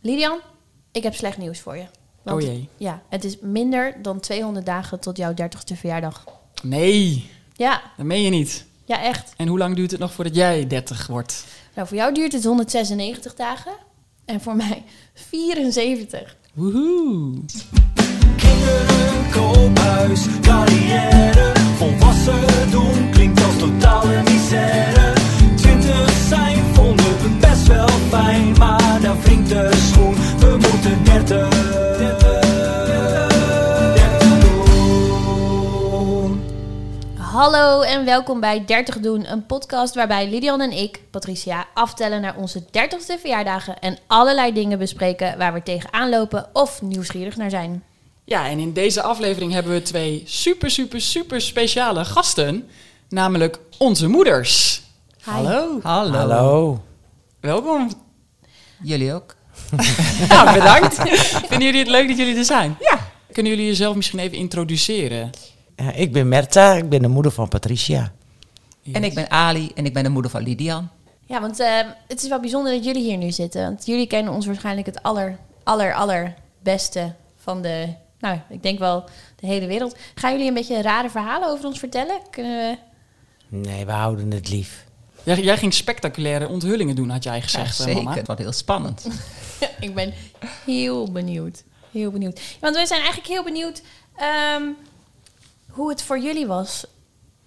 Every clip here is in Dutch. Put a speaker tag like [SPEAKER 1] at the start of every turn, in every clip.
[SPEAKER 1] Lilian, ik heb slecht nieuws voor je.
[SPEAKER 2] Oh jee.
[SPEAKER 1] Ja, het is minder dan 200 dagen tot jouw 30ste verjaardag.
[SPEAKER 2] Nee,
[SPEAKER 1] Ja,
[SPEAKER 2] dat meen je niet.
[SPEAKER 1] ja echt.
[SPEAKER 2] En hoe lang duurt het nog voordat jij 30 wordt?
[SPEAKER 1] Nou, voor jou duurt het 196 dagen en voor mij 74.
[SPEAKER 2] Woehoe.
[SPEAKER 3] Kinderen, koophuis, carrière. Volwassen doen klinkt als totale misère. Twintig zijn vonden we best wel fijn, maar daar wringt de schoen. We moeten dertig, dertig, dertig doen.
[SPEAKER 1] Hallo en welkom bij 30 Doen, een podcast waarbij Lilian en ik, Patricia, aftellen naar onze 30ste verjaardagen en allerlei dingen bespreken waar we tegenaan lopen of nieuwsgierig naar zijn.
[SPEAKER 2] Ja, en in deze aflevering hebben we twee super, super, super speciale gasten. Namelijk onze moeders.
[SPEAKER 1] Hi.
[SPEAKER 2] Hallo. Hallo.
[SPEAKER 4] Hallo.
[SPEAKER 2] Welkom.
[SPEAKER 5] Jullie ook?
[SPEAKER 2] Nou, bedankt. Vinden jullie het leuk dat jullie er zijn? Ja. Kunnen jullie jezelf misschien even introduceren?
[SPEAKER 4] Ja, ik ben Merta, ik ben de moeder van Patricia.
[SPEAKER 5] En ik ben Ali en ik ben de moeder van Lidian.
[SPEAKER 1] Ja, want eh, het is wel bijzonder dat jullie hier nu zitten. Want jullie kennen ons waarschijnlijk het aller, aller, allerbeste van de... Nou, ik denk wel de hele wereld. Gaan jullie een beetje rare verhalen over ons vertellen? Kunnen we...
[SPEAKER 4] Nee, we houden het lief.
[SPEAKER 2] Jij, jij ging spectaculaire onthullingen doen, had jij
[SPEAKER 5] Ja,
[SPEAKER 2] gezegd, eh,
[SPEAKER 5] zeker.
[SPEAKER 2] mama.
[SPEAKER 5] Het wordt heel spannend.
[SPEAKER 1] ik ben heel benieuwd. Heel benieuwd. Ja, want we zijn eigenlijk heel benieuwd ehm, hoe het voor jullie was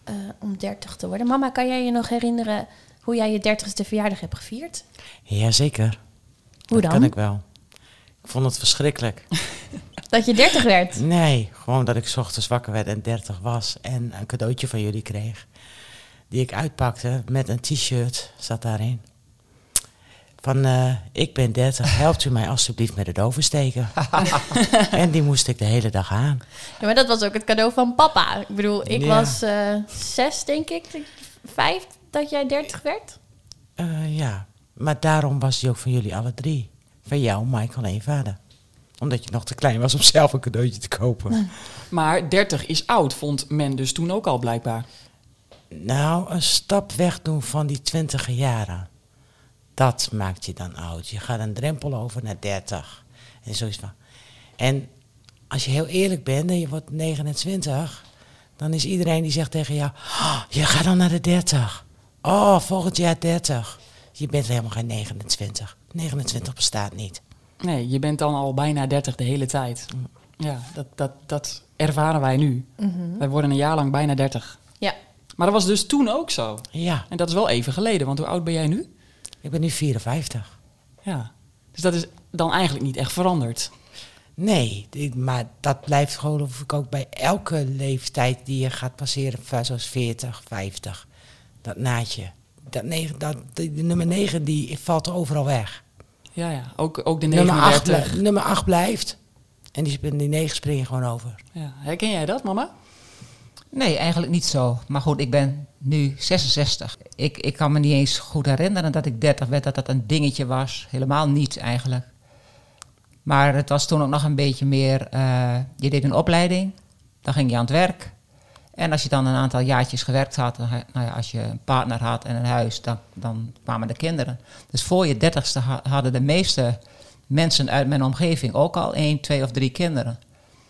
[SPEAKER 1] eh, om 30 te worden. Mama, kan jij je nog herinneren hoe jij je 30ste verjaardag hebt gevierd?
[SPEAKER 4] Jazeker.
[SPEAKER 1] Hoe
[SPEAKER 4] Dat
[SPEAKER 1] dan?
[SPEAKER 4] kan ik wel. Ik vond het verschrikkelijk.
[SPEAKER 1] Dat je 30 werd.
[SPEAKER 4] Nee, gewoon dat ik 's ochtends wakker werd en 30 was en een cadeautje van jullie kreeg. Die ik uitpakte met een t-shirt, zat daarin. Van, eh, ik ben 30, helpt u mij alstublieft met het oversteken. en die moest ik de hele dag aan.
[SPEAKER 1] Ja, maar dat was ook het cadeau van papa. Ik bedoel, ik
[SPEAKER 4] Ja.
[SPEAKER 1] was eh, zes, denk ik. Vijf dat jij dertig werd.
[SPEAKER 4] Eh, ja, maar daarom was hij ook van jullie alle drie. Van jou, Michael en je vader. Omdat je nog te klein was om zelf een cadeautje te kopen.
[SPEAKER 2] Maar 30 is oud, vond men dus toen ook al blijkbaar.
[SPEAKER 4] nou, een stap wegdoen van die twintiger jaren. Dat maakt je dan oud. Je gaat een drempel over naar 30. En zoiets van. En als je heel eerlijk bent en je wordt 29, dan is iedereen die zegt tegen jou: "Oh, Je gaat dan naar de 30. Oh, volgend jaar 30. Je bent helemaal geen 29. 29 bestaat niet.
[SPEAKER 2] Nee, je bent dan al bijna 30 de hele tijd. Ja, dat, dat, dat ervaren wij nu. Wij worden een jaar lang bijna 30.
[SPEAKER 1] Ja.
[SPEAKER 2] Maar dat was dus toen ook zo.
[SPEAKER 4] Ja,
[SPEAKER 2] En dat is wel even geleden, want hoe oud ben jij nu?
[SPEAKER 4] ik ben nu 54.
[SPEAKER 2] Ja. Dus dat is dan eigenlijk niet echt veranderd.
[SPEAKER 4] Nee, ik- maar dat blijft gewoon, geloof ik ook bij elke leeftijd die je gaat passeren, va- zoals 40, 50. Dat naadje. Dat negen, dat, die, die nummer 9 die valt overal weg.
[SPEAKER 2] Ja, ja. Ook, ook de
[SPEAKER 4] Nummer 8,
[SPEAKER 2] 39.
[SPEAKER 4] nummer 8 blijft. En die, sp- die 9 spring je gewoon over.
[SPEAKER 2] Ja. Herken jij dat, mama?
[SPEAKER 5] Nee, eigenlijk niet zo. Maar goed, ik ben nu 66. Ik, ik kan me niet eens goed herinneren dat ik 30 werd, dat dat een dingetje was. Helemaal niet eigenlijk. Maar het was toen ook nog een beetje meer. eh, je deed een opleiding, dan ging je aan het werk. En als je dan een aantal jaartjes gewerkt had, dan ha- nou ja, als je een partner had en een huis, dan, dan kwamen de kinderen. Dus voor je dertigste ha- hadden de meeste mensen uit mijn omgeving ook al één, twee of drie kinderen.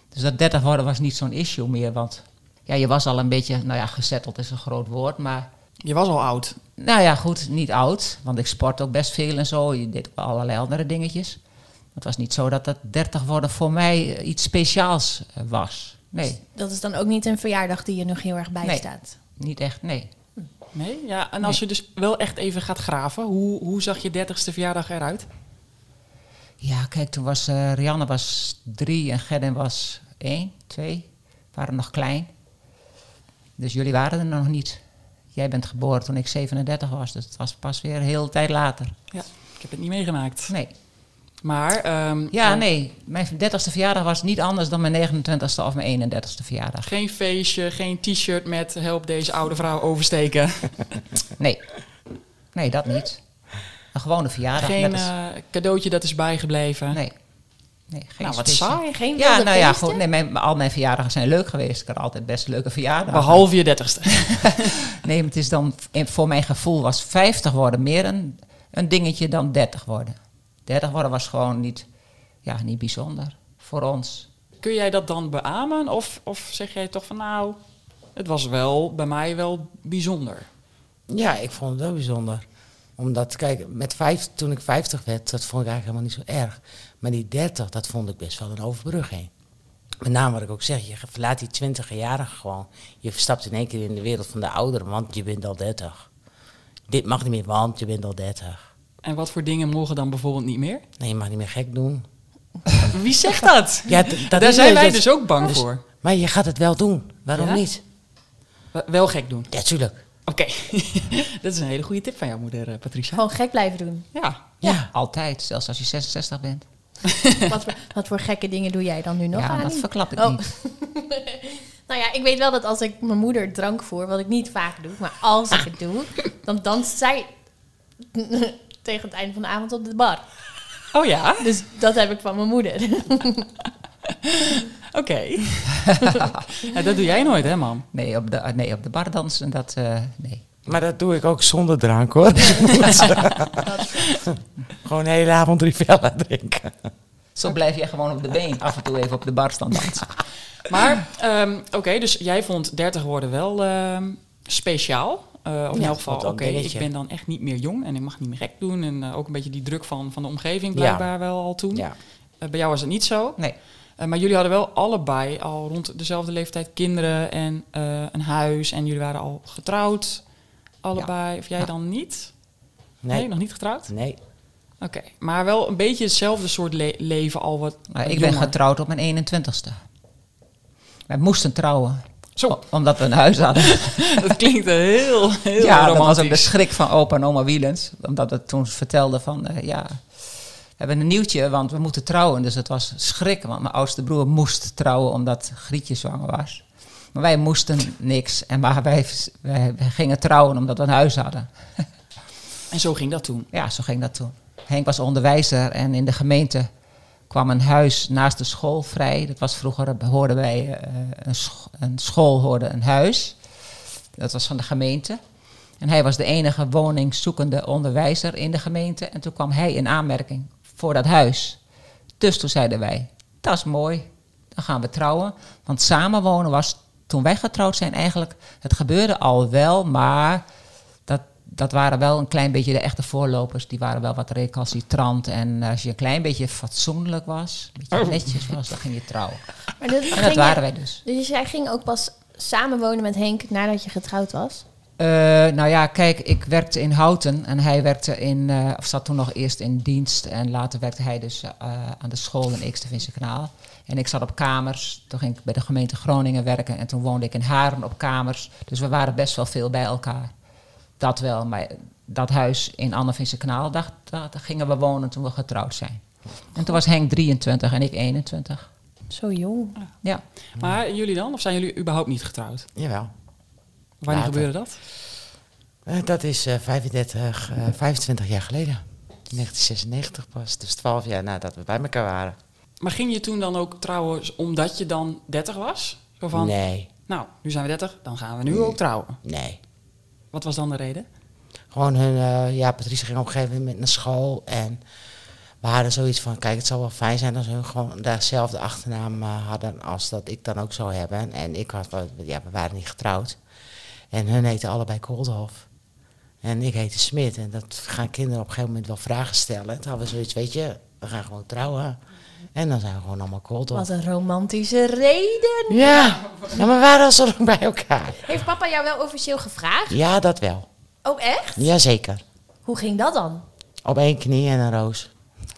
[SPEAKER 5] Dus dat 30 worden was niet zo'n issue meer, want ja, je was al een beetje, nou ja, gezetteld is een groot woord, maar
[SPEAKER 2] Je was al oud.
[SPEAKER 5] nou ja, goed, niet oud, want ik sport ook best veel en zo. Je deed ook allerlei andere dingetjes. Het was niet zo dat dat 30 worden voor mij eh, iets speciaals eh, was. Nee,
[SPEAKER 1] Dat is dan ook niet een verjaardag die je nog heel erg bijstaat.
[SPEAKER 5] niet echt, nee.
[SPEAKER 2] Nee? Ja, en als je dus wel echt even gaat graven, hoe, hoe zag je 30ste verjaardag eruit?
[SPEAKER 5] Ja, kijk, toen was eh, Rianne was drie en Gerden was één, twee. Waren nog klein. Dus jullie waren er nog niet. Jij bent geboren toen ik 37 was, dus het was pas weer een hele tijd later.
[SPEAKER 2] Ja, ik heb het niet meegemaakt.
[SPEAKER 5] Nee.
[SPEAKER 2] Maar, ehm,
[SPEAKER 5] Ja,
[SPEAKER 2] eh,
[SPEAKER 5] nee. Mijn 30ste verjaardag was niet anders dan mijn 29ste of mijn 31ste verjaardag.
[SPEAKER 2] geen feestje, geen t-shirt met help deze oude vrouw oversteken.
[SPEAKER 5] Nee. Nee, dat niet. Een gewone verjaardag.
[SPEAKER 2] geen
[SPEAKER 5] net als-
[SPEAKER 2] eh, cadeautje dat is bijgebleven.
[SPEAKER 5] nee. nee geen
[SPEAKER 2] nou, wat
[SPEAKER 5] speciaal-
[SPEAKER 2] saai.
[SPEAKER 1] Geen wilde
[SPEAKER 5] Ja, nou ja,
[SPEAKER 1] feesten?
[SPEAKER 5] goed. Nee, mijn, al mijn verjaardagen zijn leuk geweest. Ik had altijd best leuke verjaardagen.
[SPEAKER 2] Behalve je 30ste.
[SPEAKER 5] Nee, maar het is dan, voor mijn gevoel was 50 worden meer een, een dingetje dan 30 worden. 30 worden was gewoon niet, ja, niet bijzonder voor ons.
[SPEAKER 2] Kun jij dat dan beamen? Of, of zeg jij toch van nou, het was wel bij mij wel bijzonder?
[SPEAKER 4] Ja, ik vond het wel bijzonder. Omdat, kijk, met vijf, toen ik 50 werd, dat vond ik eigenlijk helemaal niet zo erg. Maar die 30, dat vond ik best wel een overbrugging. Met name wat ik ook zeg, je verlaat die 20 jaren gewoon. Je verstapt in één keer in de wereld van de ouderen, want je bent al 30. Dit mag niet meer, want je bent al 30.
[SPEAKER 2] En wat voor dingen mogen dan bijvoorbeeld niet meer?
[SPEAKER 4] Nee, je mag niet meer gek doen.
[SPEAKER 2] Wie zegt dat?
[SPEAKER 4] Ja, d- dat
[SPEAKER 2] Daar
[SPEAKER 4] is
[SPEAKER 2] zijn
[SPEAKER 4] het.
[SPEAKER 2] wij dus ook bang
[SPEAKER 4] Dus-
[SPEAKER 2] voor.
[SPEAKER 4] Maar je gaat het wel doen. Waarom
[SPEAKER 2] Ja?
[SPEAKER 4] niet?
[SPEAKER 2] Wa- Wel gek doen.
[SPEAKER 4] Ja, tuurlijk.
[SPEAKER 2] Oké, dat is een hele goede tip van jouw moeder, eh, Patricia.
[SPEAKER 1] Gewoon gek blijven doen.
[SPEAKER 2] Ja,
[SPEAKER 4] Ja.
[SPEAKER 5] Altijd, zelfs als je 66 bent.
[SPEAKER 1] Wat voor, wat voor gekke dingen doe jij dan nu nog
[SPEAKER 5] ja,
[SPEAKER 1] aan?
[SPEAKER 5] dat verklap ik
[SPEAKER 1] Oh.
[SPEAKER 5] niet.
[SPEAKER 1] Nou ja, ik weet wel dat als ik mijn moeder drank voer, wat ik niet vaak doe, maar als ik het doe, dan danst zij tegen het einde van de avond op de bar.
[SPEAKER 2] Oh ja?
[SPEAKER 1] Dus dat heb ik van mijn moeder.
[SPEAKER 2] Oké. Ja, dat doe jij nooit, hè, man?
[SPEAKER 5] Nee, op de, nee, op de bar dansen, dat, eh, nee.
[SPEAKER 4] Maar dat doe ik ook zonder drank hoor. Gewoon de hele avond Rivella drinken.
[SPEAKER 5] Zo blijf jij gewoon op de been af en toe even op de bar staan dansen.
[SPEAKER 2] Maar, ehm, oké, dus jij vond 30 worden wel ehm, speciaal. Eh of in
[SPEAKER 4] Ja,
[SPEAKER 2] elk geval,
[SPEAKER 4] wat
[SPEAKER 2] oké,
[SPEAKER 4] een
[SPEAKER 2] ik
[SPEAKER 4] dingetje.
[SPEAKER 2] ben dan echt niet meer jong en ik mag niet meer gek doen. En eh, ook een beetje die druk van, van de omgeving blijkbaar wel al toen.
[SPEAKER 4] Ja.
[SPEAKER 2] Eh, bij jou was het niet zo.
[SPEAKER 5] Nee,
[SPEAKER 2] Eh, maar jullie hadden wel allebei al rond dezelfde leeftijd kinderen en eh, een huis. En jullie waren al getrouwd, allebei. Of jij
[SPEAKER 5] Ja.
[SPEAKER 2] dan niet? Nee.
[SPEAKER 4] Nee.
[SPEAKER 2] nog niet getrouwd?
[SPEAKER 4] Nee.
[SPEAKER 2] Oké, maar wel een beetje hetzelfde soort le- leven al wat
[SPEAKER 5] maar
[SPEAKER 2] wat
[SPEAKER 5] ik ben
[SPEAKER 2] jonger.
[SPEAKER 5] getrouwd op mijn 21ste. Wij moesten trouwen,
[SPEAKER 2] Zo,
[SPEAKER 5] omdat we een huis hadden.
[SPEAKER 2] dat klinkt heel, heel
[SPEAKER 5] ja, dat was ook de
[SPEAKER 2] romantisch.
[SPEAKER 5] schrik van opa en oma Wielens. Omdat het toen vertelde van, eh, ja, we hebben een nieuwtje, want we moeten trouwen. Dus het was schrik, want mijn oudste broer moest trouwen omdat Grietje zwanger was. Maar wij moesten niks. En maar wij, wij, wij gingen trouwen omdat we een huis hadden.
[SPEAKER 2] En zo ging dat toen.
[SPEAKER 5] Ja, zo ging dat toen. Henk was onderwijzer en in de gemeente kwam een huis naast de school vrij. Dat was vroeger, hoorden wij, eh, een, sch- een school hoorde een huis. Dat was van de gemeente. En hij was de enige woningzoekende onderwijzer in de gemeente. En toen kwam hij in aanmerking voor dat huis. Dus toen zeiden wij, dat is mooi, dan gaan we trouwen. Want samenwonen was, toen wij getrouwd zijn eigenlijk, het gebeurde al wel, maar dat, dat waren wel een klein beetje de echte voorlopers. Die waren wel wat recalcitrant. En als je een klein beetje fatsoenlijk was, een beetje netjes was, dan ging je trouwen.
[SPEAKER 1] Maar dat,
[SPEAKER 5] En dat waren wij dus.
[SPEAKER 1] Dus jij ging ook pas samenwonen met Henk nadat je getrouwd was?
[SPEAKER 5] Eh, nou ja, kijk, ik werkte in Houten en hij werkte in, eh, of zat toen nog eerst in dienst en later werkte hij dus eh, aan de school in Eekstervinse Kanaal. En ik zat op kamers, toen ging ik bij de gemeente Groningen werken en toen woonde ik in Haren op kamers. Dus we waren best wel veel bij elkaar. Dat wel, maar dat huis in Annevinse Kanaal, daar, daar gingen we wonen toen we getrouwd zijn. En toen was Henk 23 en ik 21.
[SPEAKER 1] Zo jong.
[SPEAKER 5] Ja.
[SPEAKER 2] Maar jullie dan? Of zijn jullie überhaupt niet getrouwd?
[SPEAKER 4] Jawel.
[SPEAKER 2] Wanneer
[SPEAKER 4] Later.
[SPEAKER 2] gebeurde dat?
[SPEAKER 4] Eh, Dat is eh, 35, eh, 25 jaar geleden. 1996 pas. Dus 12 jaar nadat we bij elkaar waren.
[SPEAKER 2] Maar ging je toen dan ook trouwen omdat je dan 30 was? Zo van,
[SPEAKER 4] Nee,
[SPEAKER 2] nou, nu zijn we 30, dan gaan we nu ook trouwen.
[SPEAKER 4] nee.
[SPEAKER 2] Wat was dan de reden?
[SPEAKER 4] Gewoon hun, eh, ja, Patrice ging op een gegeven moment naar school. En we hadden zoiets van, kijk, het zou wel fijn zijn als hun gewoon dezelfde achternaam eh, hadden als dat ik dan ook zou hebben. En ik was, wel- ja, we waren niet getrouwd. En hun heten allebei Koolhof. En ik heette Smit. En dat gaan kinderen op een gegeven moment wel vragen stellen. Toen hadden we zoiets, weet je, we gaan gewoon trouwen. En dan zijn we gewoon allemaal Koolhof.
[SPEAKER 1] Wat een romantische reden.
[SPEAKER 4] Ja, ja, maar we waren al zo lang bij elkaar.
[SPEAKER 1] Heeft papa jou wel officieel gevraagd?
[SPEAKER 4] Ja, dat wel.
[SPEAKER 1] Oh echt?
[SPEAKER 4] Jazeker.
[SPEAKER 1] Hoe ging dat dan?
[SPEAKER 4] Op één knie en een roos.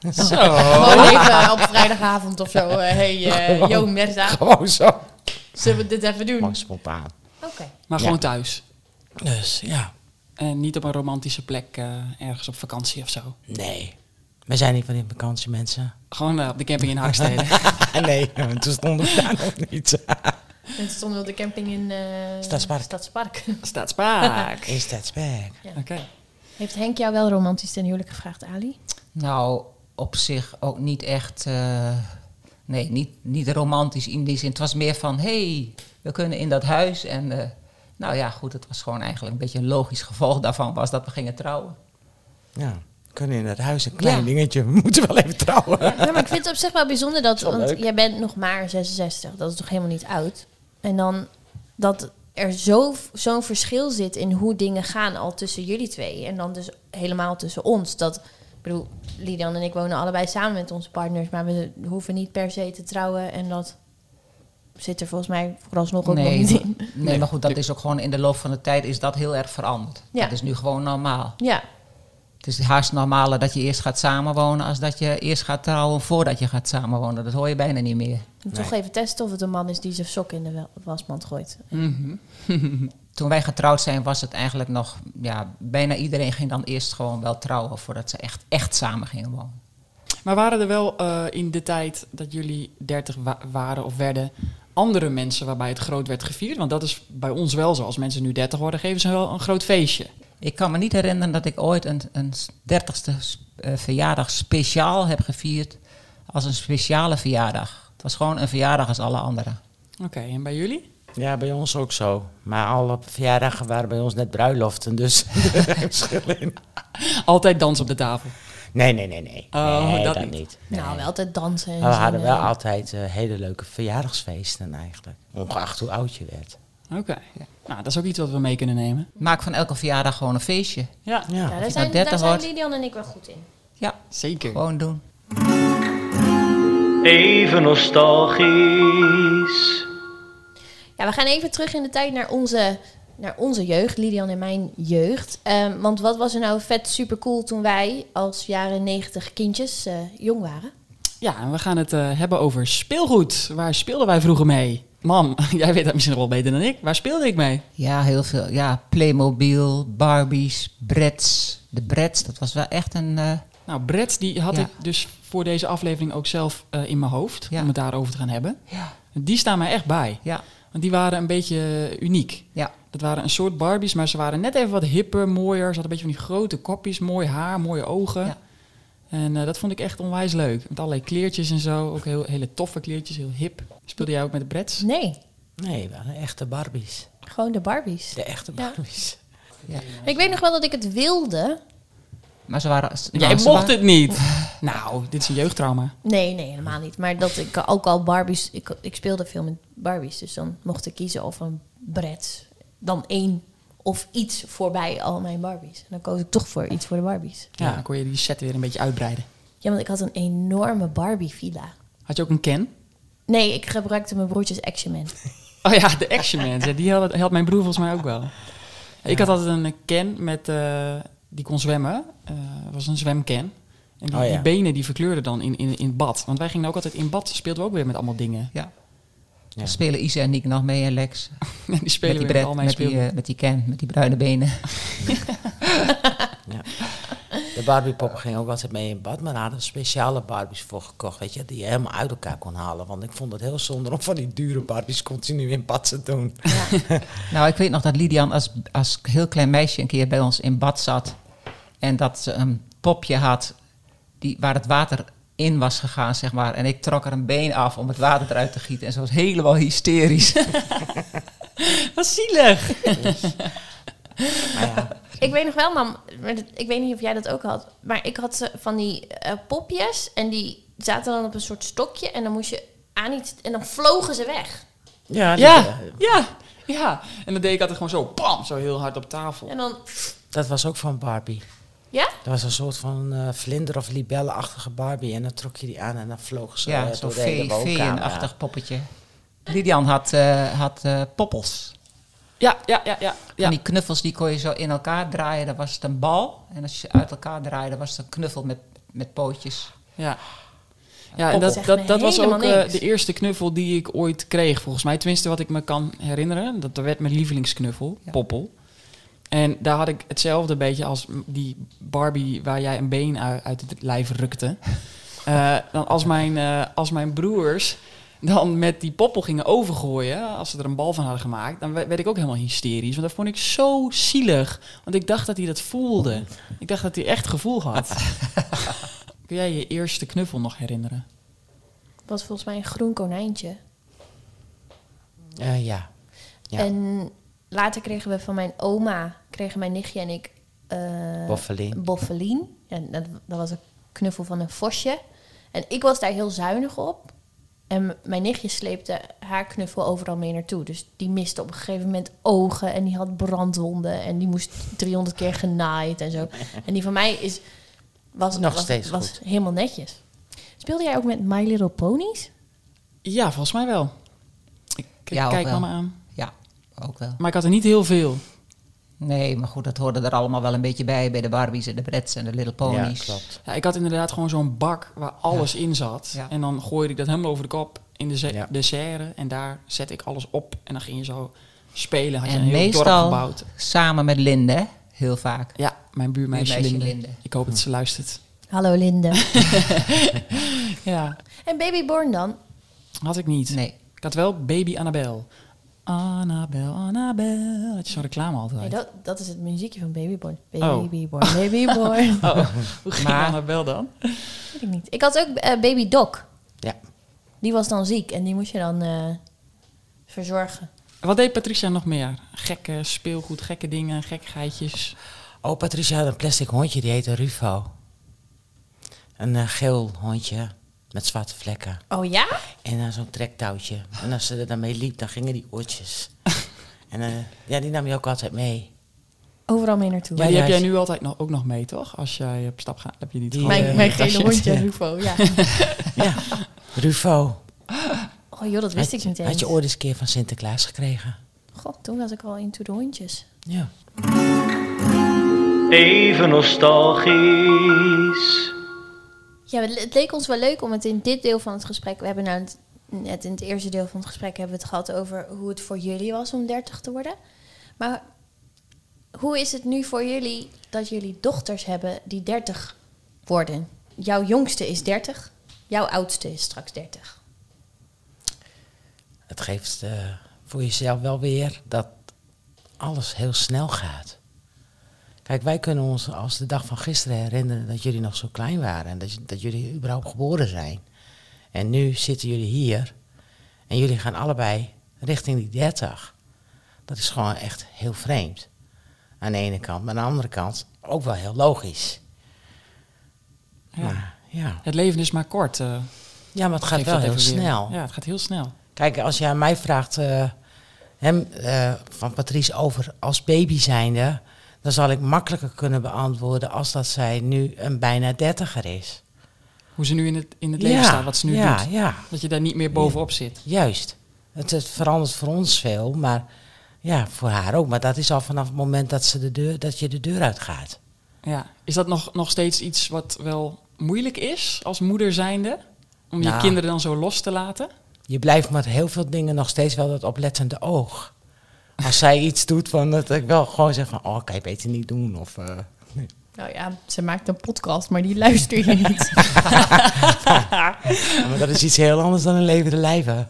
[SPEAKER 1] Oh. Gewoon even op vrijdagavond of zo. eh, hey, Jo Merza,
[SPEAKER 4] Gewoon zo.
[SPEAKER 1] zullen we dit even doen?
[SPEAKER 4] Gewoon
[SPEAKER 1] Oké.
[SPEAKER 4] spontaan.
[SPEAKER 2] Maar gewoon thuis.
[SPEAKER 4] Dus ja.
[SPEAKER 2] En niet op een romantische plek, eh, ergens op vakantie of zo.
[SPEAKER 4] Nee. We zijn niet van die vakantie mensen.
[SPEAKER 2] Gewoon eh, op de camping in Haarstede.
[SPEAKER 4] nee, want toen stonden we daar nog niet.
[SPEAKER 1] En toen stonden we op de camping in... eh,
[SPEAKER 4] Stadspark.
[SPEAKER 1] Stadspark.
[SPEAKER 2] Staatspark.
[SPEAKER 4] Is dat spek?
[SPEAKER 2] Oké.
[SPEAKER 1] Heeft Henk jou wel romantisch ten huwelijk gevraagd, Ali?
[SPEAKER 5] Nou, op zich ook niet echt. eh, nee, niet, niet romantisch in die zin. Het was meer van: hey, we kunnen in dat huis. En eh, nou ja, goed, het was gewoon eigenlijk een beetje een logisch gevolg daarvan was dat we gingen trouwen.
[SPEAKER 4] Ja. kunnen in het huis een klein
[SPEAKER 5] Ja.
[SPEAKER 4] dingetje. We moeten wel even trouwen.
[SPEAKER 1] Ja, maar ik vind het op zich wel bijzonder dat,
[SPEAKER 4] Wel
[SPEAKER 1] want
[SPEAKER 4] leuk.
[SPEAKER 1] jij bent nog maar 66, dat is toch helemaal niet oud. En dan dat er zo- zo'n verschil zit in hoe dingen gaan al tussen jullie twee en dan dus helemaal tussen ons. Dat, ik bedoel, Lidan en ik wonen allebei samen met onze partners, maar we hoeven niet per se te trouwen en dat zit er volgens mij vooralsnog ook nog niet
[SPEAKER 5] Nee,
[SPEAKER 1] in.
[SPEAKER 5] nee, maar goed, dat is ook gewoon in de loop van de tijd is dat heel erg veranderd.
[SPEAKER 1] Ja.
[SPEAKER 5] Dat is nu gewoon normaal.
[SPEAKER 1] Ja,
[SPEAKER 5] Het is haast normaler dat je eerst gaat samenwonen als dat je eerst gaat trouwen voordat je gaat samenwonen. Dat hoor je bijna niet meer.
[SPEAKER 1] toch even testen of het een man is die zijn sok in de wel- wasmand gooit.
[SPEAKER 5] Toen wij getrouwd zijn was het eigenlijk nog, ja, bijna iedereen ging dan eerst gewoon wel trouwen voordat ze echt, echt samen gingen wonen.
[SPEAKER 2] Maar waren er wel eh, in de tijd dat jullie 30 wa- waren of werden andere mensen waarbij het groot werd gevierd? Want dat is bij ons wel zo. Als mensen nu 30 worden, geven ze wel een groot feestje.
[SPEAKER 5] Ik kan me niet herinneren dat ik ooit een, een 30ste eh, verjaardag speciaal heb gevierd als een speciale verjaardag. Het was gewoon een verjaardag als alle anderen.
[SPEAKER 2] Oké, en bij jullie?
[SPEAKER 4] Ja, bij ons ook zo. Maar alle verjaardagen waren bij ons net bruiloften, dus er is geen verschil in.
[SPEAKER 2] Altijd dans op de tafel.
[SPEAKER 4] Nee, nee, nee, nee.
[SPEAKER 2] Oh,
[SPEAKER 4] nee,
[SPEAKER 2] dat niet.
[SPEAKER 4] Nee.
[SPEAKER 1] Nou, wel altijd dansen en
[SPEAKER 4] Maar we
[SPEAKER 1] zingen.
[SPEAKER 4] hadden wel altijd eh, hele leuke verjaardagsfeesten eigenlijk. Ongeacht hoe oud je werd.
[SPEAKER 2] Oké. Nou, dat is ook iets wat we mee kunnen nemen.
[SPEAKER 5] Maak van elke verjaardag gewoon een feestje.
[SPEAKER 2] Ja,
[SPEAKER 4] Ja.
[SPEAKER 1] Ja,
[SPEAKER 5] je
[SPEAKER 1] daar
[SPEAKER 5] nou
[SPEAKER 1] zijn,
[SPEAKER 5] 30
[SPEAKER 1] daar zijn
[SPEAKER 5] wordt-
[SPEAKER 1] Lidian en ik wel goed in.
[SPEAKER 5] Ja,
[SPEAKER 2] zeker.
[SPEAKER 5] gewoon doen.
[SPEAKER 3] Even nostalgisch.
[SPEAKER 1] Ja, we gaan even terug in de tijd naar onze, naar onze jeugd, Lidian en mijn jeugd. Ehm, want wat was er nou vet super cool toen wij als jaren 90 kindjes eh, jong waren?
[SPEAKER 2] Ja, en we gaan het eh, hebben over speelgoed. Waar speelden wij vroeger mee? Mam, jij weet dat misschien nog wel beter dan ik. Waar speelde ik mee?
[SPEAKER 5] Ja, heel veel. Ja, Playmobil, Barbies, Bretts. De Bretts, dat was wel echt een... eh,
[SPEAKER 2] Nou, Brett, die had
[SPEAKER 5] Ja.
[SPEAKER 2] ik dus voor deze aflevering ook zelf eh, in mijn hoofd.
[SPEAKER 5] Ja.
[SPEAKER 2] Om het daarover te gaan hebben.
[SPEAKER 5] ja.
[SPEAKER 2] Die staan mij echt bij.
[SPEAKER 5] Ja,
[SPEAKER 2] Want die waren een beetje eh, uniek.
[SPEAKER 5] ja.
[SPEAKER 2] Dat waren een soort Barbies, maar ze waren net even wat hipper, mooier. Ze hadden een beetje van die grote kopjes, mooi haar, mooie ogen.
[SPEAKER 5] Ja.
[SPEAKER 2] En eh, dat vond ik echt onwijs leuk. Met allerlei kleertjes en zo. Ook heel, hele toffe kleertjes, heel hip. Speelde jij ook met de Bretts?
[SPEAKER 1] Nee,
[SPEAKER 4] Nee, we hadden echte Barbies.
[SPEAKER 1] gewoon de Barbies.
[SPEAKER 4] De echte
[SPEAKER 1] Ja.
[SPEAKER 4] Barbies.
[SPEAKER 1] Ik weet nog wel dat ik het wilde.
[SPEAKER 5] Maar ze waren... nou,
[SPEAKER 2] Jij
[SPEAKER 5] ze
[SPEAKER 2] mocht
[SPEAKER 5] waren-
[SPEAKER 2] het niet! nou, dit is een jeugdtrauma.
[SPEAKER 1] Nee, nee, helemaal niet. Maar dat ik ook al Barbies... Ik, ik speelde veel met Barbies, dus dan mocht ik kiezen of een Brett. Dan één of iets voorbij al mijn Barbies. En dan koos ik toch voor iets voor de Barbies.
[SPEAKER 2] Ja, dan kon je die set weer een beetje uitbreiden.
[SPEAKER 1] Ja, want ik had een enorme Barbie-villa.
[SPEAKER 2] Had je ook een Ken?
[SPEAKER 1] Nee, ik gebruikte mijn broertjes Action Man.
[SPEAKER 2] Oh ja, de Action Man. Ja, Die had, had mijn broer volgens mij ook wel. Ik had altijd een eh, Ken met, eh, die kon zwemmen. Eh, Het was een zwemken. En die,
[SPEAKER 4] Oh ja.
[SPEAKER 2] die benen die verkleurden dan in, in, in het bad. Want wij gingen ook altijd in bad, speelden we ook weer met allemaal dingen.
[SPEAKER 5] Ja.
[SPEAKER 4] Ja.
[SPEAKER 5] Dan spelen Isa en Nick nog mee en Lex.
[SPEAKER 2] En die
[SPEAKER 5] Met
[SPEAKER 2] spelen
[SPEAKER 5] die
[SPEAKER 2] weer met
[SPEAKER 5] Brett,
[SPEAKER 2] al mijn
[SPEAKER 5] met die,
[SPEAKER 2] speelgoed.
[SPEAKER 5] eh, met die Ken, met die bruine benen.
[SPEAKER 4] De Barbie-poppen gingen ook altijd mee in bad, maar daar hadden we speciale Barbies voor gekocht, weet je, die je helemaal uit elkaar kon halen. Want ik vond het heel zonde om van die dure Barbies continu in bad te doen.
[SPEAKER 5] Nou, ik weet nog dat Lidian als, als heel klein meisje een keer bij ons in bad zat. En dat ze een popje had die, waar het water in was gegaan, zeg maar. En ik trok er een been af om het water eruit te gieten. En ze was helemaal hysterisch.
[SPEAKER 2] Wat zielig!
[SPEAKER 4] Maar ja,
[SPEAKER 1] Ik weet nog wel, mam, maar dat- ik weet niet of jij dat ook had, maar ik had ze van die eh, popjes en die zaten dan op een soort stokje en dan moest je aan iets en dan vlogen ze weg.
[SPEAKER 4] ja, die,
[SPEAKER 2] Ja,
[SPEAKER 4] eh,
[SPEAKER 2] ja, ja. En dan deed ik altijd gewoon zo, pam, zo heel hard op tafel.
[SPEAKER 1] En dan,
[SPEAKER 4] dat was ook van Barbie.
[SPEAKER 1] ja?
[SPEAKER 4] Dat was een soort van eh, vlinder- of libellenachtige Barbie. En dan trok je die aan en dan vloog ze
[SPEAKER 5] ja,
[SPEAKER 4] eh,
[SPEAKER 5] zo'n
[SPEAKER 4] door de hele
[SPEAKER 5] vee-
[SPEAKER 4] woonkamer.
[SPEAKER 5] vee-achtig poppetje. Lidian had, eh, had eh, poppels.
[SPEAKER 2] Ja, ja, ja, ja.
[SPEAKER 5] En
[SPEAKER 2] ja.
[SPEAKER 5] die knuffels die kon je zo in elkaar draaien. Dan was het een bal. En als je uit elkaar draaide, was het een knuffel met, met pootjes.
[SPEAKER 2] Ja. Ja, en dat,
[SPEAKER 1] Zegt me
[SPEAKER 2] dat, dat was ook
[SPEAKER 1] helemaal
[SPEAKER 2] eh,
[SPEAKER 1] niks.
[SPEAKER 2] de eerste knuffel die ik ooit kreeg, volgens mij. Tenminste, wat ik me kan herinneren. Dat werd mijn lievelingsknuffel,
[SPEAKER 5] Ja.
[SPEAKER 2] Poppel. En daar had ik hetzelfde beetje als m- die Barbie waar jij een been u- uit, het lijf rukte. Eh, dan als, mijn, eh, als mijn broers dan met die poppel gingen overgooien, als ze er een bal van hadden gemaakt, dan we- werd ik ook helemaal hysterisch. Want dat vond ik zo zielig. Want ik dacht dat hij dat voelde. Ik dacht dat hij echt gevoel had. Kun jij je eerste knuffel nog herinneren?
[SPEAKER 1] Was volgens mij een groen konijntje.
[SPEAKER 4] Eh, ja. Ja.
[SPEAKER 1] En later kregen we van mijn oma, kregen mijn nichtje en ik eh,
[SPEAKER 4] Boffelien.
[SPEAKER 1] Boffelien. En dat, dat was een knuffel van een vosje. En ik was daar heel zuinig op. En m- mijn nichtje sleepte haar knuffel overal mee naartoe. Dus die miste op een gegeven moment ogen en die had brandwonden. En die moest 300 keer genaaid en zo. En die van mij is, was,
[SPEAKER 4] Nog
[SPEAKER 1] was,
[SPEAKER 4] steeds
[SPEAKER 1] was
[SPEAKER 4] goed.
[SPEAKER 1] helemaal netjes. Speelde jij ook met My Little Ponies?
[SPEAKER 2] Ja, volgens mij wel. Ik, ik
[SPEAKER 5] Ja, ook
[SPEAKER 2] kijk
[SPEAKER 5] wel.
[SPEAKER 2] mama aan.
[SPEAKER 5] Ja, ook wel.
[SPEAKER 2] Maar ik had er niet heel veel.
[SPEAKER 5] Nee, maar goed, dat hoorde er allemaal wel een beetje bij. Bij de Barbies en de Bretts en de Little Ponies.
[SPEAKER 4] Ja, klopt.
[SPEAKER 2] Ja, ik had inderdaad gewoon zo'n bak waar alles in zat.
[SPEAKER 5] Ja.
[SPEAKER 2] En dan gooide ik dat helemaal over de kop in de, ze-
[SPEAKER 4] Ja.
[SPEAKER 2] de serre. En daar zette ik alles op. En dan ging je zo spelen. Had je
[SPEAKER 5] En
[SPEAKER 2] een heel dorp
[SPEAKER 5] meestal
[SPEAKER 2] gebouwd.
[SPEAKER 5] samen met Linde, hè? heel vaak.
[SPEAKER 2] Ja, mijn buurmeisje,
[SPEAKER 5] Buurmeisje
[SPEAKER 2] Linde.
[SPEAKER 5] Linde. Hm.
[SPEAKER 2] Ik hoop dat ze luistert.
[SPEAKER 1] Hallo Linde.
[SPEAKER 2] Ja,
[SPEAKER 1] en Babyborn dan?
[SPEAKER 2] had ik niet.
[SPEAKER 5] Nee.
[SPEAKER 2] Ik had wel baby Annabel. Annabel, Annabel. Had je zo'n reclame altijd.
[SPEAKER 1] Nee, dat, dat is het muziekje van Babyborn.
[SPEAKER 2] Oh.
[SPEAKER 1] Babyborn, Babyborn.
[SPEAKER 2] Hoe ging
[SPEAKER 5] Oh. Maar-
[SPEAKER 2] Annabel dan?
[SPEAKER 1] Weet ik niet. Ik had ook eh, Baby Doc.
[SPEAKER 4] Ja.
[SPEAKER 1] Die was dan ziek en die moest je dan eh, verzorgen.
[SPEAKER 2] Wat deed Patricia nog meer? Gekke speelgoed, gekke dingen, gekkigheidjes.
[SPEAKER 4] Oh, Patricia had een plastic hondje, die heette Rufo. Een eh, geel hondje met zwarte vlekken.
[SPEAKER 1] Oh ja?
[SPEAKER 4] En dan zo'n trektouwtje. En als ze er dan mee liep, dan gingen die oortjes. en eh, ja, die nam je ook altijd mee.
[SPEAKER 1] Overal mee naartoe.
[SPEAKER 2] Ja, die heb
[SPEAKER 4] juist.
[SPEAKER 2] jij nu altijd nog, ook nog mee, toch? Als jij op stap gaat, heb je die
[SPEAKER 4] Die,
[SPEAKER 2] toch?
[SPEAKER 1] mijn
[SPEAKER 4] eh,
[SPEAKER 1] mijn
[SPEAKER 4] dat
[SPEAKER 1] gele
[SPEAKER 4] je-
[SPEAKER 1] hondje,
[SPEAKER 4] ja.
[SPEAKER 1] Rufo. Ja.
[SPEAKER 4] Ja, Rufo.
[SPEAKER 1] Oh joh, dat wist
[SPEAKER 4] Had-
[SPEAKER 1] ik niet eens.
[SPEAKER 4] Had je ooit eens een keer van Sinterklaas gekregen?
[SPEAKER 1] God, toen was ik al into de hondjes.
[SPEAKER 4] Ja.
[SPEAKER 3] Even nostalgisch.
[SPEAKER 1] Ja, het het leek ons wel leuk om het in dit deel van het gesprek... We hebben nou het- net in het eerste deel van het gesprek hebben we het gehad over hoe het voor jullie was om 30 te worden. Maar hoe is het nu voor jullie dat jullie dochters hebben die 30 worden? Jouw jongste is 30, jouw oudste is straks 30.
[SPEAKER 4] Het geeft eh, voor jezelf wel weer dat alles heel snel gaat. Kijk, wij kunnen ons als de dag van gisteren herinneren dat jullie nog zo klein waren en dat, j- dat jullie überhaupt geboren zijn. En nu zitten jullie hier en jullie gaan allebei richting die 30. Dat is gewoon echt heel vreemd. Aan de ene kant, maar aan de andere kant ook wel heel logisch.
[SPEAKER 2] Ja.
[SPEAKER 4] Maar, ja.
[SPEAKER 2] Het leven is maar kort. eh,
[SPEAKER 4] ja, maar het gaat
[SPEAKER 2] geeft
[SPEAKER 4] wel
[SPEAKER 2] dat
[SPEAKER 4] heel
[SPEAKER 2] even weer.
[SPEAKER 4] snel.
[SPEAKER 2] Ja, het gaat heel snel.
[SPEAKER 4] Kijk, als je aan mij vraagt, eh, hem, eh, van Patrice over als baby zijnde, dan zal ik makkelijker kunnen beantwoorden als dat zij nu een bijna dertiger is.
[SPEAKER 2] Hoe ze nu in het, in het leven
[SPEAKER 4] Ja,
[SPEAKER 2] staat, wat ze nu
[SPEAKER 4] ja,
[SPEAKER 2] doet.
[SPEAKER 4] Ja,
[SPEAKER 2] Dat je daar niet meer bovenop zit.
[SPEAKER 4] juist. Het, het verandert voor ons veel, maar ja, voor haar ook. Maar dat is al vanaf het moment dat, ze de deur, dat je de deur uitgaat.
[SPEAKER 2] Ja. Is dat nog, nog steeds iets wat wel moeilijk is als moeder zijnde? Om je
[SPEAKER 4] Nou.
[SPEAKER 2] kinderen dan zo los te laten?
[SPEAKER 4] Je blijft met heel veel dingen nog steeds wel dat oplettende oog. Als zij iets doet, van dat ik wel gewoon zeg van, oh, kan je beter niet doen. Of, eh,
[SPEAKER 1] Nou ja, ze maakt een podcast, maar die luister je niet.
[SPEAKER 4] maar dat is iets heel anders dan een levende lijven.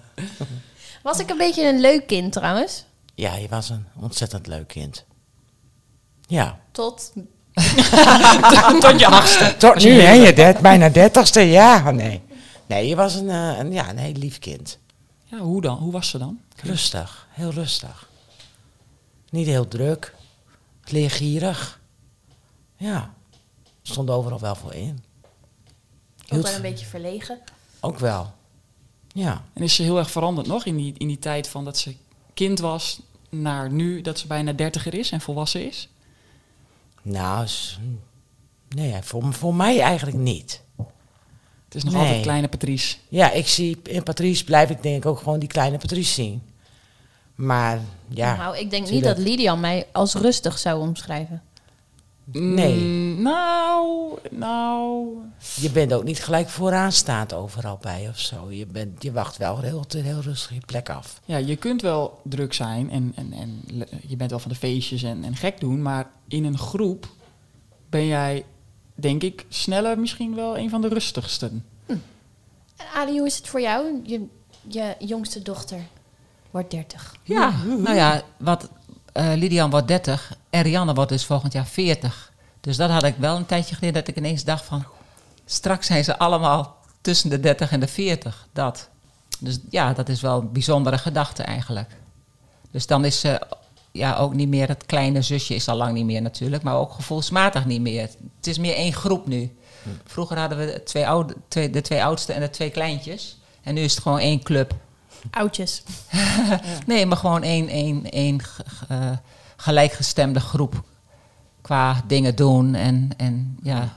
[SPEAKER 1] Was ik een beetje een leuk kind trouwens?
[SPEAKER 4] Ja, je was een ontzettend leuk kind. Ja.
[SPEAKER 1] Tot
[SPEAKER 2] Tot je achtste.
[SPEAKER 4] Tot nu, hè? Je dert, bijna dertigste, ja. Oh, Nee. Nee, je was een, eh, een, ja, een heel lief kind.
[SPEAKER 2] Ja, hoe dan? Hoe was ze dan?
[SPEAKER 4] Rustig, heel rustig. Niet heel druk. Leergierig. Ja. Stond overal wel voor in.
[SPEAKER 1] ook
[SPEAKER 4] Hield
[SPEAKER 1] wel een
[SPEAKER 4] van-
[SPEAKER 1] beetje verlegen.
[SPEAKER 4] Ook wel. Ja.
[SPEAKER 2] En is ze heel erg veranderd nog in die, in die tijd van dat ze kind was naar nu dat ze bijna dertiger is en volwassen is?
[SPEAKER 4] Nou, is- nee, voor, voor mij eigenlijk niet.
[SPEAKER 2] Het is nog
[SPEAKER 4] Nee.
[SPEAKER 2] altijd kleine Patrice.
[SPEAKER 4] Ja, ik zie in Patrice blijf ik denk ik ook gewoon die kleine Patrice zien. Maar ja.
[SPEAKER 1] nou, ik denk niet
[SPEAKER 4] tuurlijk.
[SPEAKER 1] dat Lydia mij als rustig zou omschrijven.
[SPEAKER 4] Nee.
[SPEAKER 2] Mm, nou, nou.
[SPEAKER 4] Je bent ook niet gelijk vooraan staand overal bij of zo. Je, bent, je wacht wel heel, heel rustig je plek af.
[SPEAKER 2] Ja, je kunt wel druk zijn en, en, en le- je bent wel van de feestjes en, en gek doen, maar in een groep ben jij, denk ik, sneller misschien wel een van de rustigsten.
[SPEAKER 5] Dus
[SPEAKER 1] En Ali, hoe is het voor jou? Je, je jongste dochter wordt 30.
[SPEAKER 5] Ja, nou ja, wat, eh, Lidian wordt 30 en Rianne wordt dus volgend jaar 40. Dus dat had ik wel een tijdje geleden dat ik ineens dacht van... straks zijn ze allemaal tussen de 30 en de 40, dat. Dus ja, dat is wel een bijzondere gedachte eigenlijk. Dus dan is ze ja, ook niet meer. Dat kleine zusje is al lang niet meer natuurlijk, maar ook gevoelsmatig niet meer. Het is meer één groep nu. Vroeger hadden we de twee, oude, twee, de twee oudste en de twee kleintjes. En nu is het gewoon één club.
[SPEAKER 1] Oudjes.
[SPEAKER 5] Nee, maar gewoon één, één, één ge- ge- eh, gelijkgestemde groep qua dingen doen en, en ja. Dus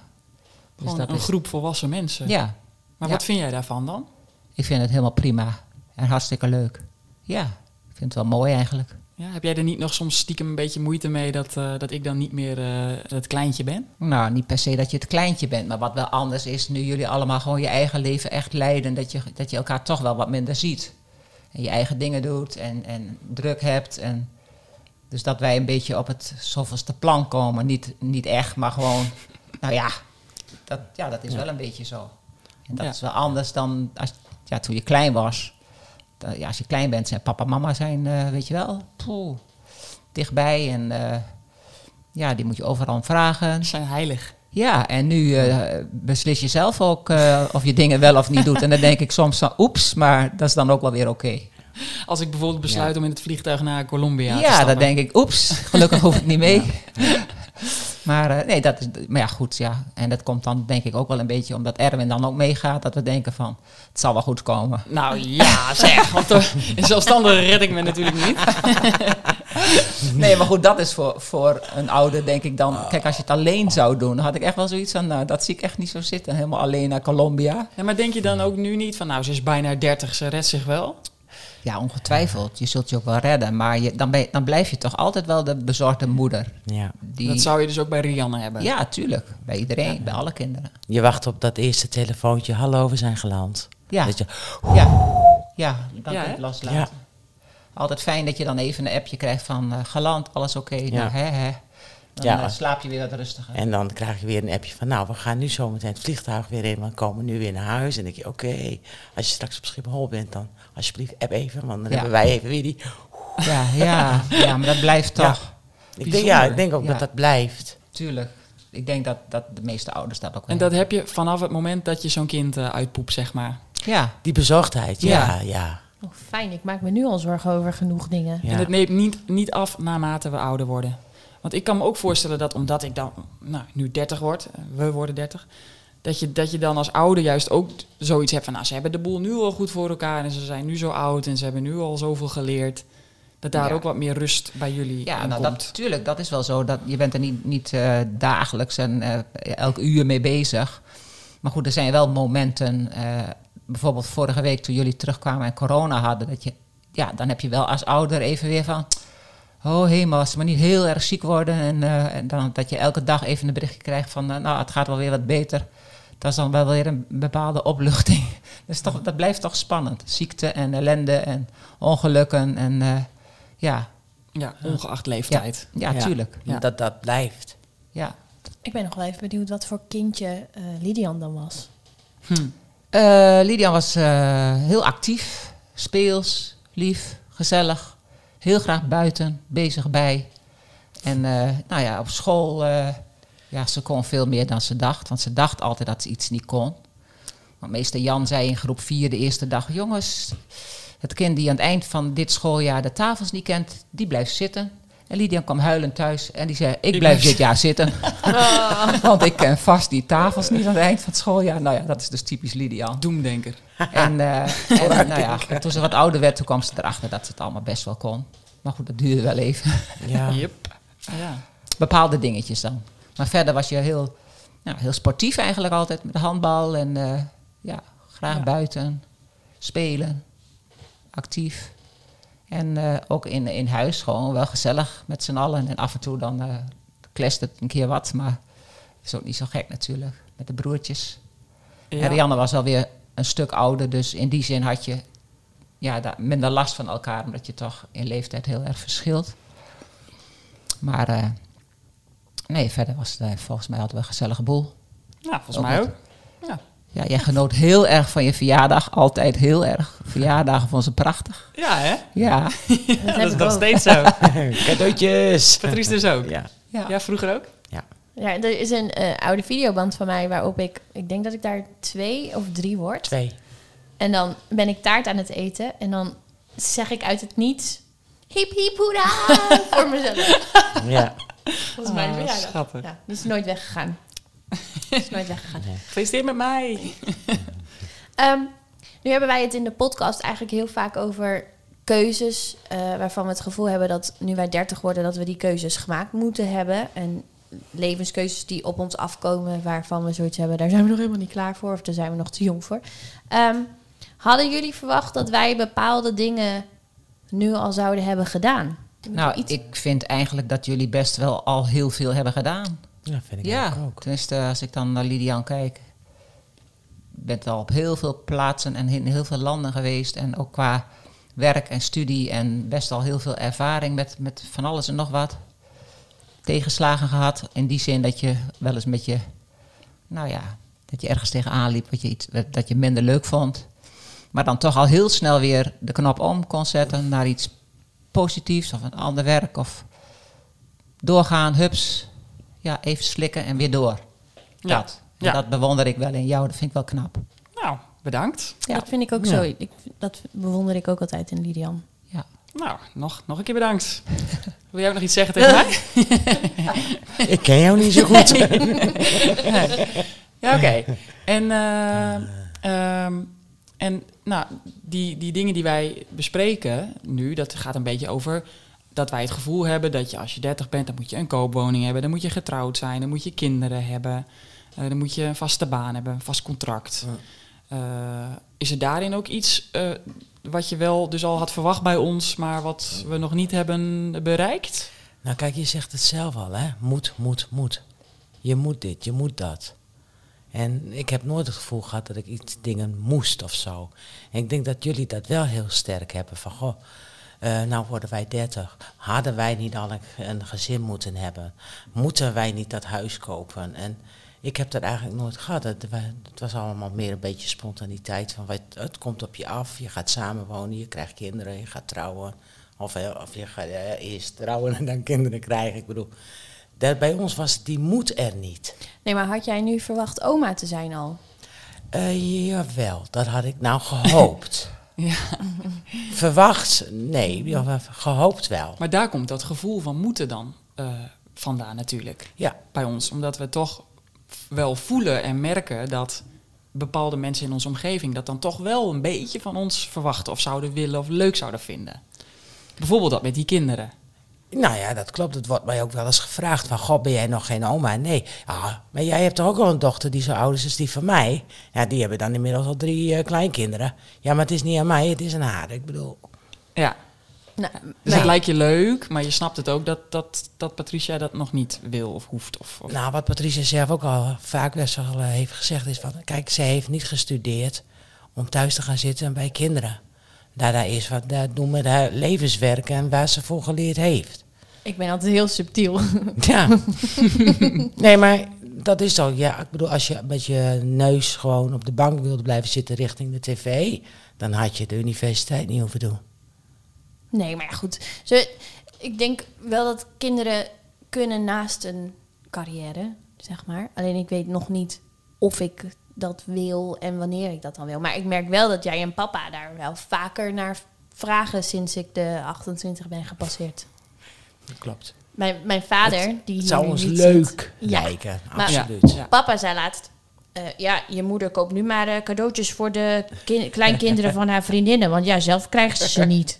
[SPEAKER 2] Gewoon
[SPEAKER 5] dat
[SPEAKER 2] een
[SPEAKER 5] is-
[SPEAKER 2] groep eh. volwassen mensen.
[SPEAKER 5] Ja,
[SPEAKER 2] Maar
[SPEAKER 5] Ja.
[SPEAKER 2] wat vind jij daarvan dan?
[SPEAKER 5] ik vind het helemaal prima en hartstikke leuk. Ja, ik vind het wel mooi eigenlijk.
[SPEAKER 2] Ja, heb jij er niet nog soms stiekem een beetje moeite mee dat, eh, dat ik dan niet meer eh het kleintje ben?
[SPEAKER 5] Nou, niet per se dat je het kleintje bent, maar wat wel anders is, nu jullie allemaal gewoon je eigen leven echt leiden, dat je, dat je elkaar toch wel wat minder ziet. En je eigen dingen doet en, en druk hebt. En, dus dat wij een beetje op het zoveelste plan komen. Niet, niet echt, maar gewoon, nou ja, dat, ja, dat is wel een beetje zo. En dat
[SPEAKER 2] Ja.
[SPEAKER 5] is wel anders dan als, ja, toen je klein was. Da- ja, als je klein bent, zijn papa en mama zijn, eh, weet je wel, poeh, dichtbij. En eh, ja, die moet je overal om vragen.
[SPEAKER 2] Ze zijn heilig.
[SPEAKER 5] Ja, en nu eh, beslis je zelf ook eh, of je dingen wel of niet doet. En dan denk ik soms van oeps, maar dat is dan ook wel weer oké.
[SPEAKER 2] Als ik bijvoorbeeld besluit om in het vliegtuig naar Colombia
[SPEAKER 5] Ja,
[SPEAKER 2] te stappen.
[SPEAKER 5] dan denk ik oeps, gelukkig hoef ik niet mee. Maar eh, nee, dat is, maar ja, goed, ja. En dat komt dan denk ik ook wel een beetje omdat Erwin dan ook meegaat. Dat we denken van, het zal wel goed komen.
[SPEAKER 2] Nou ja, zeg. Want eh, een zelfstandige red ik me natuurlijk niet.
[SPEAKER 5] Nee, maar goed, dat is voor, voor een ouder denk ik dan... Kijk, als je het alleen zou doen, dan had ik echt wel zoiets van... Nou, dat zie ik echt niet zo zitten, helemaal alleen naar Colombia.
[SPEAKER 2] Ja, maar denk je dan ook nu niet van, nou, ze is bijna 30, ze redt zich wel?
[SPEAKER 5] Ja, ongetwijfeld. Je zult je ook wel redden. Maar je, dan, ben je- dan blijf je toch altijd wel de bezorgde moeder.
[SPEAKER 4] Ja.
[SPEAKER 5] Die,
[SPEAKER 2] Dat zou je dus ook bij Rianne hebben.
[SPEAKER 5] Ja, tuurlijk. Bij iedereen, bij alle kinderen.
[SPEAKER 4] Je wacht op dat eerste telefoontje. Hallo, we zijn geland.
[SPEAKER 5] Ja.
[SPEAKER 4] Dat je,
[SPEAKER 5] Ja, ja
[SPEAKER 2] Ja,
[SPEAKER 5] dan kun je
[SPEAKER 2] hè?
[SPEAKER 5] het loslaten.
[SPEAKER 4] ja.
[SPEAKER 5] Altijd fijn dat je dan even een appje krijgt van eh, geland, alles oké. Nou, hè, hè. Dan
[SPEAKER 4] Ja.
[SPEAKER 5] eh, slaap je weer wat rustiger.
[SPEAKER 4] En dan krijg je weer een appje van, nou, we gaan nu zometeen het vliegtuig weer in. We komen nu weer naar huis. En dan denk je, oké, als je straks op Schiphol bent, dan alsjeblieft app even. Want dan
[SPEAKER 5] Ja.
[SPEAKER 4] hebben wij even weer die...
[SPEAKER 5] Ja, ja, ja, maar dat blijft
[SPEAKER 4] Ja.
[SPEAKER 5] toch.
[SPEAKER 4] Ik denk, ja, ik
[SPEAKER 5] Bijzonder.
[SPEAKER 4] denk ook
[SPEAKER 5] Ja.
[SPEAKER 4] dat dat blijft.
[SPEAKER 5] Tuurlijk. Ik denk dat, dat de meeste ouders dat ook wel
[SPEAKER 2] En dat heb je vanaf het moment dat je zo'n kind eh, uitpoept, zeg maar.
[SPEAKER 5] hebben. Ja,
[SPEAKER 4] Die bezorgdheid, ja, ja.
[SPEAKER 5] Ja.
[SPEAKER 1] Oh, fijn, ik maak me nu al zorgen over genoeg dingen.
[SPEAKER 4] Ja.
[SPEAKER 2] En dat neemt niet, niet af naarmate we ouder worden. Want ik kan me ook voorstellen dat omdat ik dan nou, nu 30 word, eh, we worden 30, dat je, dat je dan als ouder juist ook t- zoiets hebt van, nou, ze hebben de boel nu al goed voor elkaar en ze zijn nu zo oud en ze hebben nu al zoveel geleerd. Dat daar
[SPEAKER 5] Ja.
[SPEAKER 2] ook wat meer rust bij jullie
[SPEAKER 5] ja
[SPEAKER 2] in
[SPEAKER 5] nou,
[SPEAKER 2] komt.
[SPEAKER 5] dat, tuurlijk, dat is wel zo. Dat, je bent er niet, niet eh, dagelijks en eh, elk uur mee bezig. Maar goed, er zijn wel momenten. eh, bijvoorbeeld vorige week toen jullie terugkwamen en corona hadden. Dat je, ja, dan heb je wel als ouder even weer van... Oh hemel, als ze maar niet heel erg ziek worden. En, eh, en dan, dat je elke dag even een berichtje krijgt van... eh, nou, het gaat wel weer wat beter. Dat is dan wel weer een bepaalde opluchting. Dus toch, dat blijft toch spannend. Ziekte en ellende en ongelukken. En eh, ja,
[SPEAKER 2] Ja, ongeacht leeftijd.
[SPEAKER 5] ja, tuurlijk.
[SPEAKER 2] Ja.
[SPEAKER 4] Dat dat blijft.
[SPEAKER 5] Ja.
[SPEAKER 1] Ik ben nog wel even benieuwd wat voor kindje eh, Lidian dan was.
[SPEAKER 5] Eh, Lidian was eh, heel actief, speels, lief, gezellig. Heel graag buiten, bezig bij. En eh, nou ja, op school, eh, ja, ze kon veel meer dan ze dacht. Want ze dacht altijd dat ze iets niet kon. Want meester Jan zei in groep 4 de eerste dag... Jongens, het kind die aan het eind van dit schooljaar de tafels niet kent... die blijft zitten. En Lidian kwam huilend thuis en die zei... Ik, blijf
[SPEAKER 2] blijf
[SPEAKER 5] dit jaar zitten. Want ik ken vast die tafels niet aan het eind van het schooljaar. Nou ja, dat is dus typisch Lidian.
[SPEAKER 2] Doemdenker.
[SPEAKER 5] En, eh, en nou ja, en toen ze wat ouder werd, toen kwam ze erachter dat ze het allemaal best wel kon. Maar goed, dat duurde wel even.
[SPEAKER 4] Ja.
[SPEAKER 2] Yep. Ja.
[SPEAKER 5] Bepaalde dingetjes dan. Maar verder was je heel, nou, heel sportief eigenlijk altijd. Met de handbal en eh, ja, graag buiten. Spelen. Actief. En eh, ook in, in huis gewoon wel gezellig met z'n allen. En af en toe dan eh klest het een keer wat. Maar is ook niet zo gek natuurlijk. Met de broertjes.
[SPEAKER 2] Ja.
[SPEAKER 5] En Rianne was alweer een stuk ouder, dus in die zin had je ja, daar minder last van elkaar, omdat je toch in leeftijd heel erg verschilt. Maar eh, nee, verder was het eh, volgens mij hadden we een gezellige boel.
[SPEAKER 2] Nou, volgens
[SPEAKER 5] Ook
[SPEAKER 2] mij
[SPEAKER 5] wat.
[SPEAKER 2] ook. Ja.
[SPEAKER 5] Ja, jij genoot heel erg van je verjaardag, altijd heel erg. Verjaardagen vonden ze prachtig.
[SPEAKER 2] ja, hè?
[SPEAKER 5] Ja,
[SPEAKER 1] Dat
[SPEAKER 2] Dat
[SPEAKER 1] heb
[SPEAKER 2] is
[SPEAKER 1] ik
[SPEAKER 2] nog
[SPEAKER 1] ook.
[SPEAKER 2] steeds zo.
[SPEAKER 4] Cadeautjes!
[SPEAKER 2] Patrice dus ook.
[SPEAKER 4] Ja.
[SPEAKER 5] ja.
[SPEAKER 2] Ja, vroeger ook?
[SPEAKER 1] Ja, er is een eh, oude videoband van mij waarop ik, ik denk dat ik daar twee of drie word.
[SPEAKER 4] Twee.
[SPEAKER 1] En dan ben ik taart aan het eten en dan zeg ik uit het niets Hip hip hoera voor mezelf.
[SPEAKER 4] Ja.
[SPEAKER 1] Dat is mijn
[SPEAKER 2] Ah,
[SPEAKER 1] verjaardag.
[SPEAKER 2] schattig.
[SPEAKER 1] Ja, die is nooit weggegaan. Die is nooit weggegaan.
[SPEAKER 2] Gefeliciteerd met mij.
[SPEAKER 1] Ehm, nu hebben wij het in de podcast eigenlijk heel vaak over keuzes eh, waarvan we het gevoel hebben dat nu wij 30 worden, dat we die keuzes gemaakt moeten hebben. En levenskeuzes die op ons afkomen, waarvan we zoiets hebben, daar zijn we nog helemaal niet klaar voor of daar zijn we nog te jong voor. Ehm, hadden jullie verwacht dat wij bepaalde dingen nu al zouden hebben gedaan?
[SPEAKER 5] Nou, ik vind eigenlijk dat jullie best wel al heel veel hebben gedaan.
[SPEAKER 4] Ja, vind ik
[SPEAKER 5] ja,
[SPEAKER 4] ook.
[SPEAKER 5] tenminste als ik dan naar Lidian kijk. Je bent al op heel veel plaatsen en in heel veel landen geweest. En ook qua werk en studie en best al heel veel ervaring met, met van alles en nog wat. Tegenslagen gehad. In die zin dat je wel eens met je, nou ja, dat je ergens tegenaan liep wat je iets, wat- dat je minder leuk vond. Maar dan toch al heel snel weer de knop om kon zetten naar iets positiefs of een ander werk of doorgaan, hups. Ja, even slikken en weer door.
[SPEAKER 2] Ja.
[SPEAKER 5] Dat. En
[SPEAKER 2] Ja.
[SPEAKER 5] Dat bewonder ik wel in jou, dat vind ik wel knap.
[SPEAKER 2] Nou, bedankt.
[SPEAKER 1] Ja. Dat vind ik ook zo. Ik, dat bewonder ik ook altijd in Lidian.
[SPEAKER 5] Ja.
[SPEAKER 2] Nou, nog, nog een keer bedankt. Wil jij ook nog iets zeggen tegen mij?
[SPEAKER 4] Ik ken jou niet zo goed.
[SPEAKER 2] Ja, oké. En, eh, ehm, en nou, die, die dingen die wij bespreken nu, dat gaat een beetje over dat wij het gevoel hebben dat je als je 30 bent, dan moet je een koopwoning hebben, dan moet je getrouwd zijn, dan moet je kinderen hebben, eh, dan moet je een vaste baan hebben, een vast contract. Eh, is er daarin ook iets eh, wat je wel dus al had verwacht bij ons, maar wat we nog niet hebben bereikt?
[SPEAKER 4] Nou kijk, je zegt het zelf al, hè? Moet, moet, moet. Je moet dit, je moet dat. En ik heb nooit het gevoel gehad dat ik iets dingen moest of zo. En ik denk dat jullie dat wel heel sterk hebben. Van goh, eh, nou worden wij 30. Hadden wij niet al een, een gezin moeten hebben? Moeten wij niet dat huis kopen? En ik heb dat eigenlijk nooit gehad. Het, wa- het was allemaal meer een beetje spontaniteit. Van wat, het komt op je af, je gaat samenwonen, je krijgt kinderen, je gaat trouwen. Of, eh, of je gaat eh, eerst trouwen en dan kinderen krijgen. Ik bedoel, daar, bij ons was die moed er niet.
[SPEAKER 1] Nee, maar had jij nu verwacht oma te zijn al?
[SPEAKER 4] Eh, jawel, dat had ik nou gehoopt.
[SPEAKER 2] Ja.
[SPEAKER 4] Verwacht, nee, ja, gehoopt wel.
[SPEAKER 2] Maar daar komt dat gevoel van moeten dan eh, vandaan natuurlijk.
[SPEAKER 4] Ja,
[SPEAKER 2] bij ons. Omdat we toch f- wel voelen en merken dat bepaalde mensen in onze omgeving dat dan toch wel een beetje van ons verwachten of zouden willen of leuk zouden vinden. Bijvoorbeeld dat met die kinderen.
[SPEAKER 4] nou ja, dat klopt. Het wordt mij ook wel eens gevraagd van, god, ben jij nog geen oma? Nee, ah, maar jij hebt toch ook al een dochter die zo oud is als die van mij? Ja, die hebben dan inmiddels al drie eh, kleinkinderen. Ja, maar het is niet aan mij, het is aan haar. Ik bedoel,
[SPEAKER 2] Ja.
[SPEAKER 1] Nou,
[SPEAKER 2] Dus het lijkt je leuk, maar je snapt het ook dat, dat, dat Patricia dat nog niet wil of hoeft. Of, of-
[SPEAKER 4] Nou, wat Patricia zelf ook al vaak best wel eh, heeft gezegd is van... Kijk, zij heeft niet gestudeerd om thuis te gaan zitten bij kinderen. Daarna is wat daar doen met haar levenswerk en waar ze voor geleerd heeft.
[SPEAKER 1] Ik ben altijd heel subtiel.
[SPEAKER 4] Ja. nee, maar dat is toch... Ja, ik bedoel, als je met je neus gewoon op de bank wilde blijven zitten richting de tv... dan had je de universiteit niet hoeven doen.
[SPEAKER 1] Nee, maar ja, goed. Ze, ik denk wel dat kinderen kunnen naast een carrière, zeg maar. Alleen ik weet nog niet of ik dat wil en wanneer ik dat dan wil. Maar ik merk wel dat jij en papa daar wel vaker naar vragen sinds ik de 28 ben gepasseerd.
[SPEAKER 4] Klopt.
[SPEAKER 1] Mijn, mijn vader, die
[SPEAKER 4] Het
[SPEAKER 1] hier
[SPEAKER 4] zou
[SPEAKER 1] nu
[SPEAKER 4] ons
[SPEAKER 1] niet
[SPEAKER 4] leuk
[SPEAKER 1] zit- Ja.
[SPEAKER 4] lijken,
[SPEAKER 1] Maar-
[SPEAKER 4] absoluut.
[SPEAKER 2] Ja.
[SPEAKER 1] Papa zei laatst, eh, ja, je moeder koopt nu maar eh, cadeautjes voor de kin- kleinkinderen van haar vriendinnen. Want ja, zelf krijgt ze ze niet.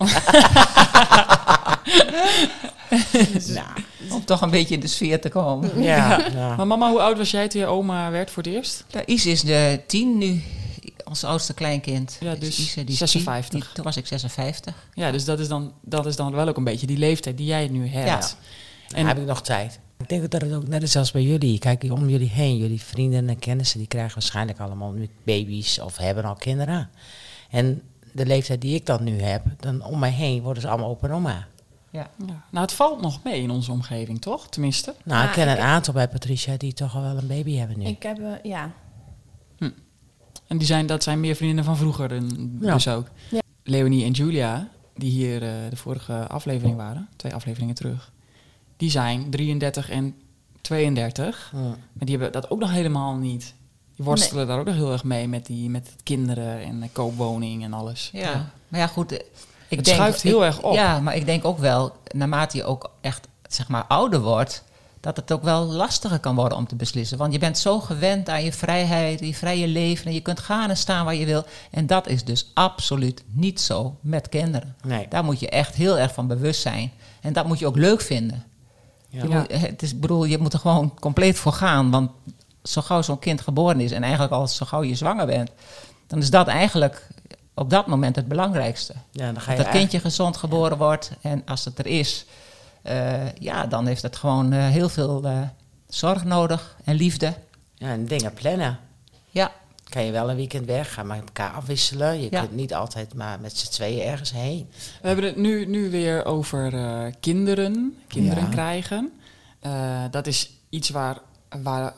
[SPEAKER 5] Om toch een beetje in de sfeer te komen.
[SPEAKER 4] Ja, ja.
[SPEAKER 2] Maar mama, hoe oud was jij toen je oma werd voor het eerst?
[SPEAKER 5] Nou, Is is de tien nu, ons oudste kleinkind.
[SPEAKER 2] Ja, dus
[SPEAKER 5] Ise, die is
[SPEAKER 2] 56.
[SPEAKER 5] tien. Die- toen was ik 56.
[SPEAKER 2] Ja, dus dat is, dan, dat is dan wel ook een beetje die leeftijd die jij nu hebt.
[SPEAKER 4] En heb ik nog tijd? Ik denk dat het ook net is als bij jullie. Kijk om jullie heen. Jullie vrienden en kennissen die krijgen waarschijnlijk allemaal nu baby's of hebben al kinderen. En de leeftijd die ik dan nu heb, dan om mij heen worden ze allemaal opa en oma.
[SPEAKER 5] Ja.
[SPEAKER 2] Ja. Nou, het valt nog mee in onze omgeving, toch? Tenminste.
[SPEAKER 4] Nou,
[SPEAKER 1] Ja,
[SPEAKER 4] ik ken
[SPEAKER 1] ik
[SPEAKER 4] een aantal bij Patricia die toch al wel een baby hebben nu.
[SPEAKER 1] Ik heb, eh, ja,
[SPEAKER 2] En die zijn, dat zijn meer vriendinnen van vroeger en
[SPEAKER 4] Ja.
[SPEAKER 2] dus ook.
[SPEAKER 1] Ja.
[SPEAKER 2] Leonie en Julia, die hier eh, de vorige aflevering waren, twee afleveringen terug, die zijn 33 en 32.
[SPEAKER 4] Ja.
[SPEAKER 2] Maar die hebben dat ook nog helemaal niet. Die worstelen daar ook nog heel erg mee met, die, met kinderen en eh, koopwoning en alles.
[SPEAKER 5] Ja. maar ja, goed. eh, Ik
[SPEAKER 2] Het schuift heel
[SPEAKER 5] ik-
[SPEAKER 2] erg op.
[SPEAKER 5] Ja, maar ik denk ook wel, naarmate je ook echt zeg maar, ouder wordt, dat het ook wel lastiger kan worden om te beslissen. Want je bent zo gewend aan je vrijheid, je vrije leven en je kunt gaan en staan waar je wil. En dat is dus absoluut niet zo met kinderen.
[SPEAKER 4] Nee.
[SPEAKER 5] Daar moet je echt heel erg van bewust zijn. En dat moet je ook leuk vinden. Je, moet, het is, ik bedoel, je moet er gewoon compleet voor gaan. Want zo gauw zo'n kind geboren is en eigenlijk al zo gauw je zwanger bent, dan is dat eigenlijk op dat moment het belangrijkste.
[SPEAKER 4] Ja, dan ga
[SPEAKER 5] Dat
[SPEAKER 4] je
[SPEAKER 5] dat
[SPEAKER 4] eigenlijk-
[SPEAKER 5] kindje gezond geboren wordt en als het er is, eh, ja, dan heeft het gewoon eh, heel veel eh, zorg nodig en liefde.
[SPEAKER 4] ja, en dingen plannen.
[SPEAKER 5] Ja,
[SPEAKER 4] Kan je wel een weekend weg, gaan maar elkaar afwisselen. Je
[SPEAKER 5] Ja.
[SPEAKER 4] kunt niet altijd maar met z'n tweeën ergens heen.
[SPEAKER 2] We hebben het nu, nu weer over eh, kinderen, kinderen
[SPEAKER 4] Ja.
[SPEAKER 2] krijgen. Eh, dat is iets waar, waar,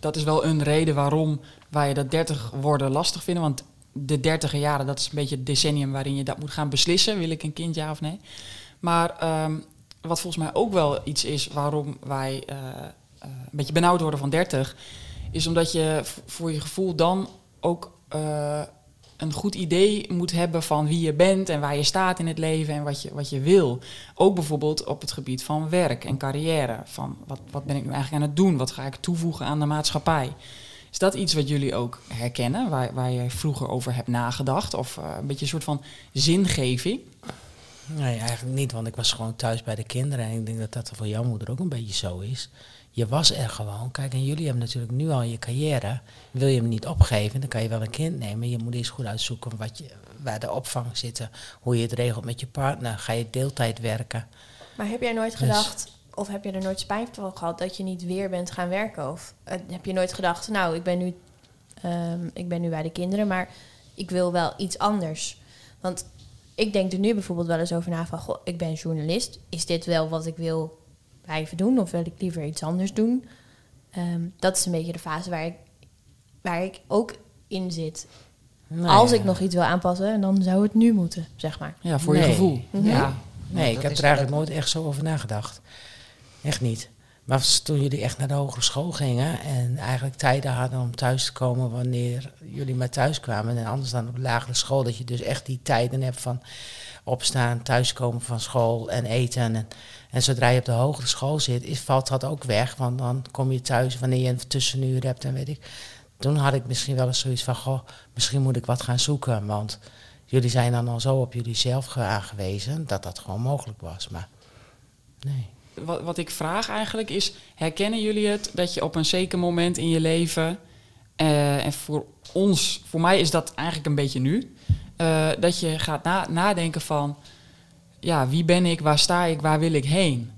[SPEAKER 2] dat is wel een reden waarom wij dat 30 worden lastig vinden. Want de 30e jaren, dat is een beetje het decennium waarin je dat moet gaan beslissen. Wil ik een kind, ja of nee? Maar ehm, wat volgens mij ook wel iets is waarom wij eh, eh, een beetje benauwd worden van 30, is omdat je v- voor je gevoel dan ook eh, een goed idee moet hebben van wie je bent en waar je staat in het leven en wat je, wat je wil. Ook bijvoorbeeld op het gebied van werk en carrière. Van wat, wat ben ik nu eigenlijk aan het doen? Wat ga ik toevoegen aan de maatschappij? Is dat iets wat jullie ook herkennen, waar, waar je vroeger over hebt nagedacht? Of eh, een beetje een soort van zingeving?
[SPEAKER 4] Nee, eigenlijk niet, want ik was gewoon thuis bij de kinderen. En ik denk dat dat voor jouw moeder ook een beetje zo is. Je was er gewoon. Kijk, en jullie hebben natuurlijk nu al je carrière. Wil je hem niet opgeven, dan kan je wel een kind nemen. Je moet eerst goed uitzoeken wat je, waar de opvang zitten. Hoe je het regelt met je partner. Ga je deeltijd werken?
[SPEAKER 1] Maar heb jij nooit gedacht, of heb je er nooit spijt van gehad dat je niet weer bent gaan werken? Of eh, heb je nooit gedacht, nou, ik ben nu, ehm, ik ben nu bij de kinderen, maar ik wil wel iets anders. Want ik denk er nu bijvoorbeeld wel eens over na van, goh, ik ben journalist. Is dit wel wat ik wil blijven doen? Of wil ik liever iets anders doen? Ehm, dat is een beetje de fase waar ik, waar ik ook in zit.
[SPEAKER 4] Nou
[SPEAKER 1] Als
[SPEAKER 4] ja.
[SPEAKER 1] ik nog iets wil aanpassen, dan zou het nu moeten, zeg maar.
[SPEAKER 2] Ja, voor je
[SPEAKER 4] Nee.
[SPEAKER 2] gevoel. Ja.
[SPEAKER 4] Nee,
[SPEAKER 5] dat
[SPEAKER 4] ik heb
[SPEAKER 5] is-
[SPEAKER 4] er eigenlijk nooit echt zo over nagedacht. Echt niet. Maar s- toen jullie echt naar de hogeschool gingen en eigenlijk tijden hadden om thuis te komen wanneer jullie maar thuis kwamen. En anders dan op de lagere school, dat je dus echt die tijden hebt van opstaan, thuiskomen van school en eten. En, en zodra je op de hogere school zit, is, valt dat ook weg. Want dan kom je thuis wanneer je een tussenuur hebt en weet ik. Toen had ik misschien wel eens zoiets van, goh, misschien moet ik wat gaan zoeken. Want jullie zijn dan al zo op jullie zelf ge- aangewezen dat dat gewoon mogelijk was. Maar nee.
[SPEAKER 2] Wat, wat ik vraag eigenlijk is, herkennen jullie het dat je op een zeker moment in je leven, eh, en voor ons, voor mij is dat eigenlijk een beetje nu, eh, dat je gaat na, nadenken van, ja, wie ben ik, waar sta ik, waar wil ik heen?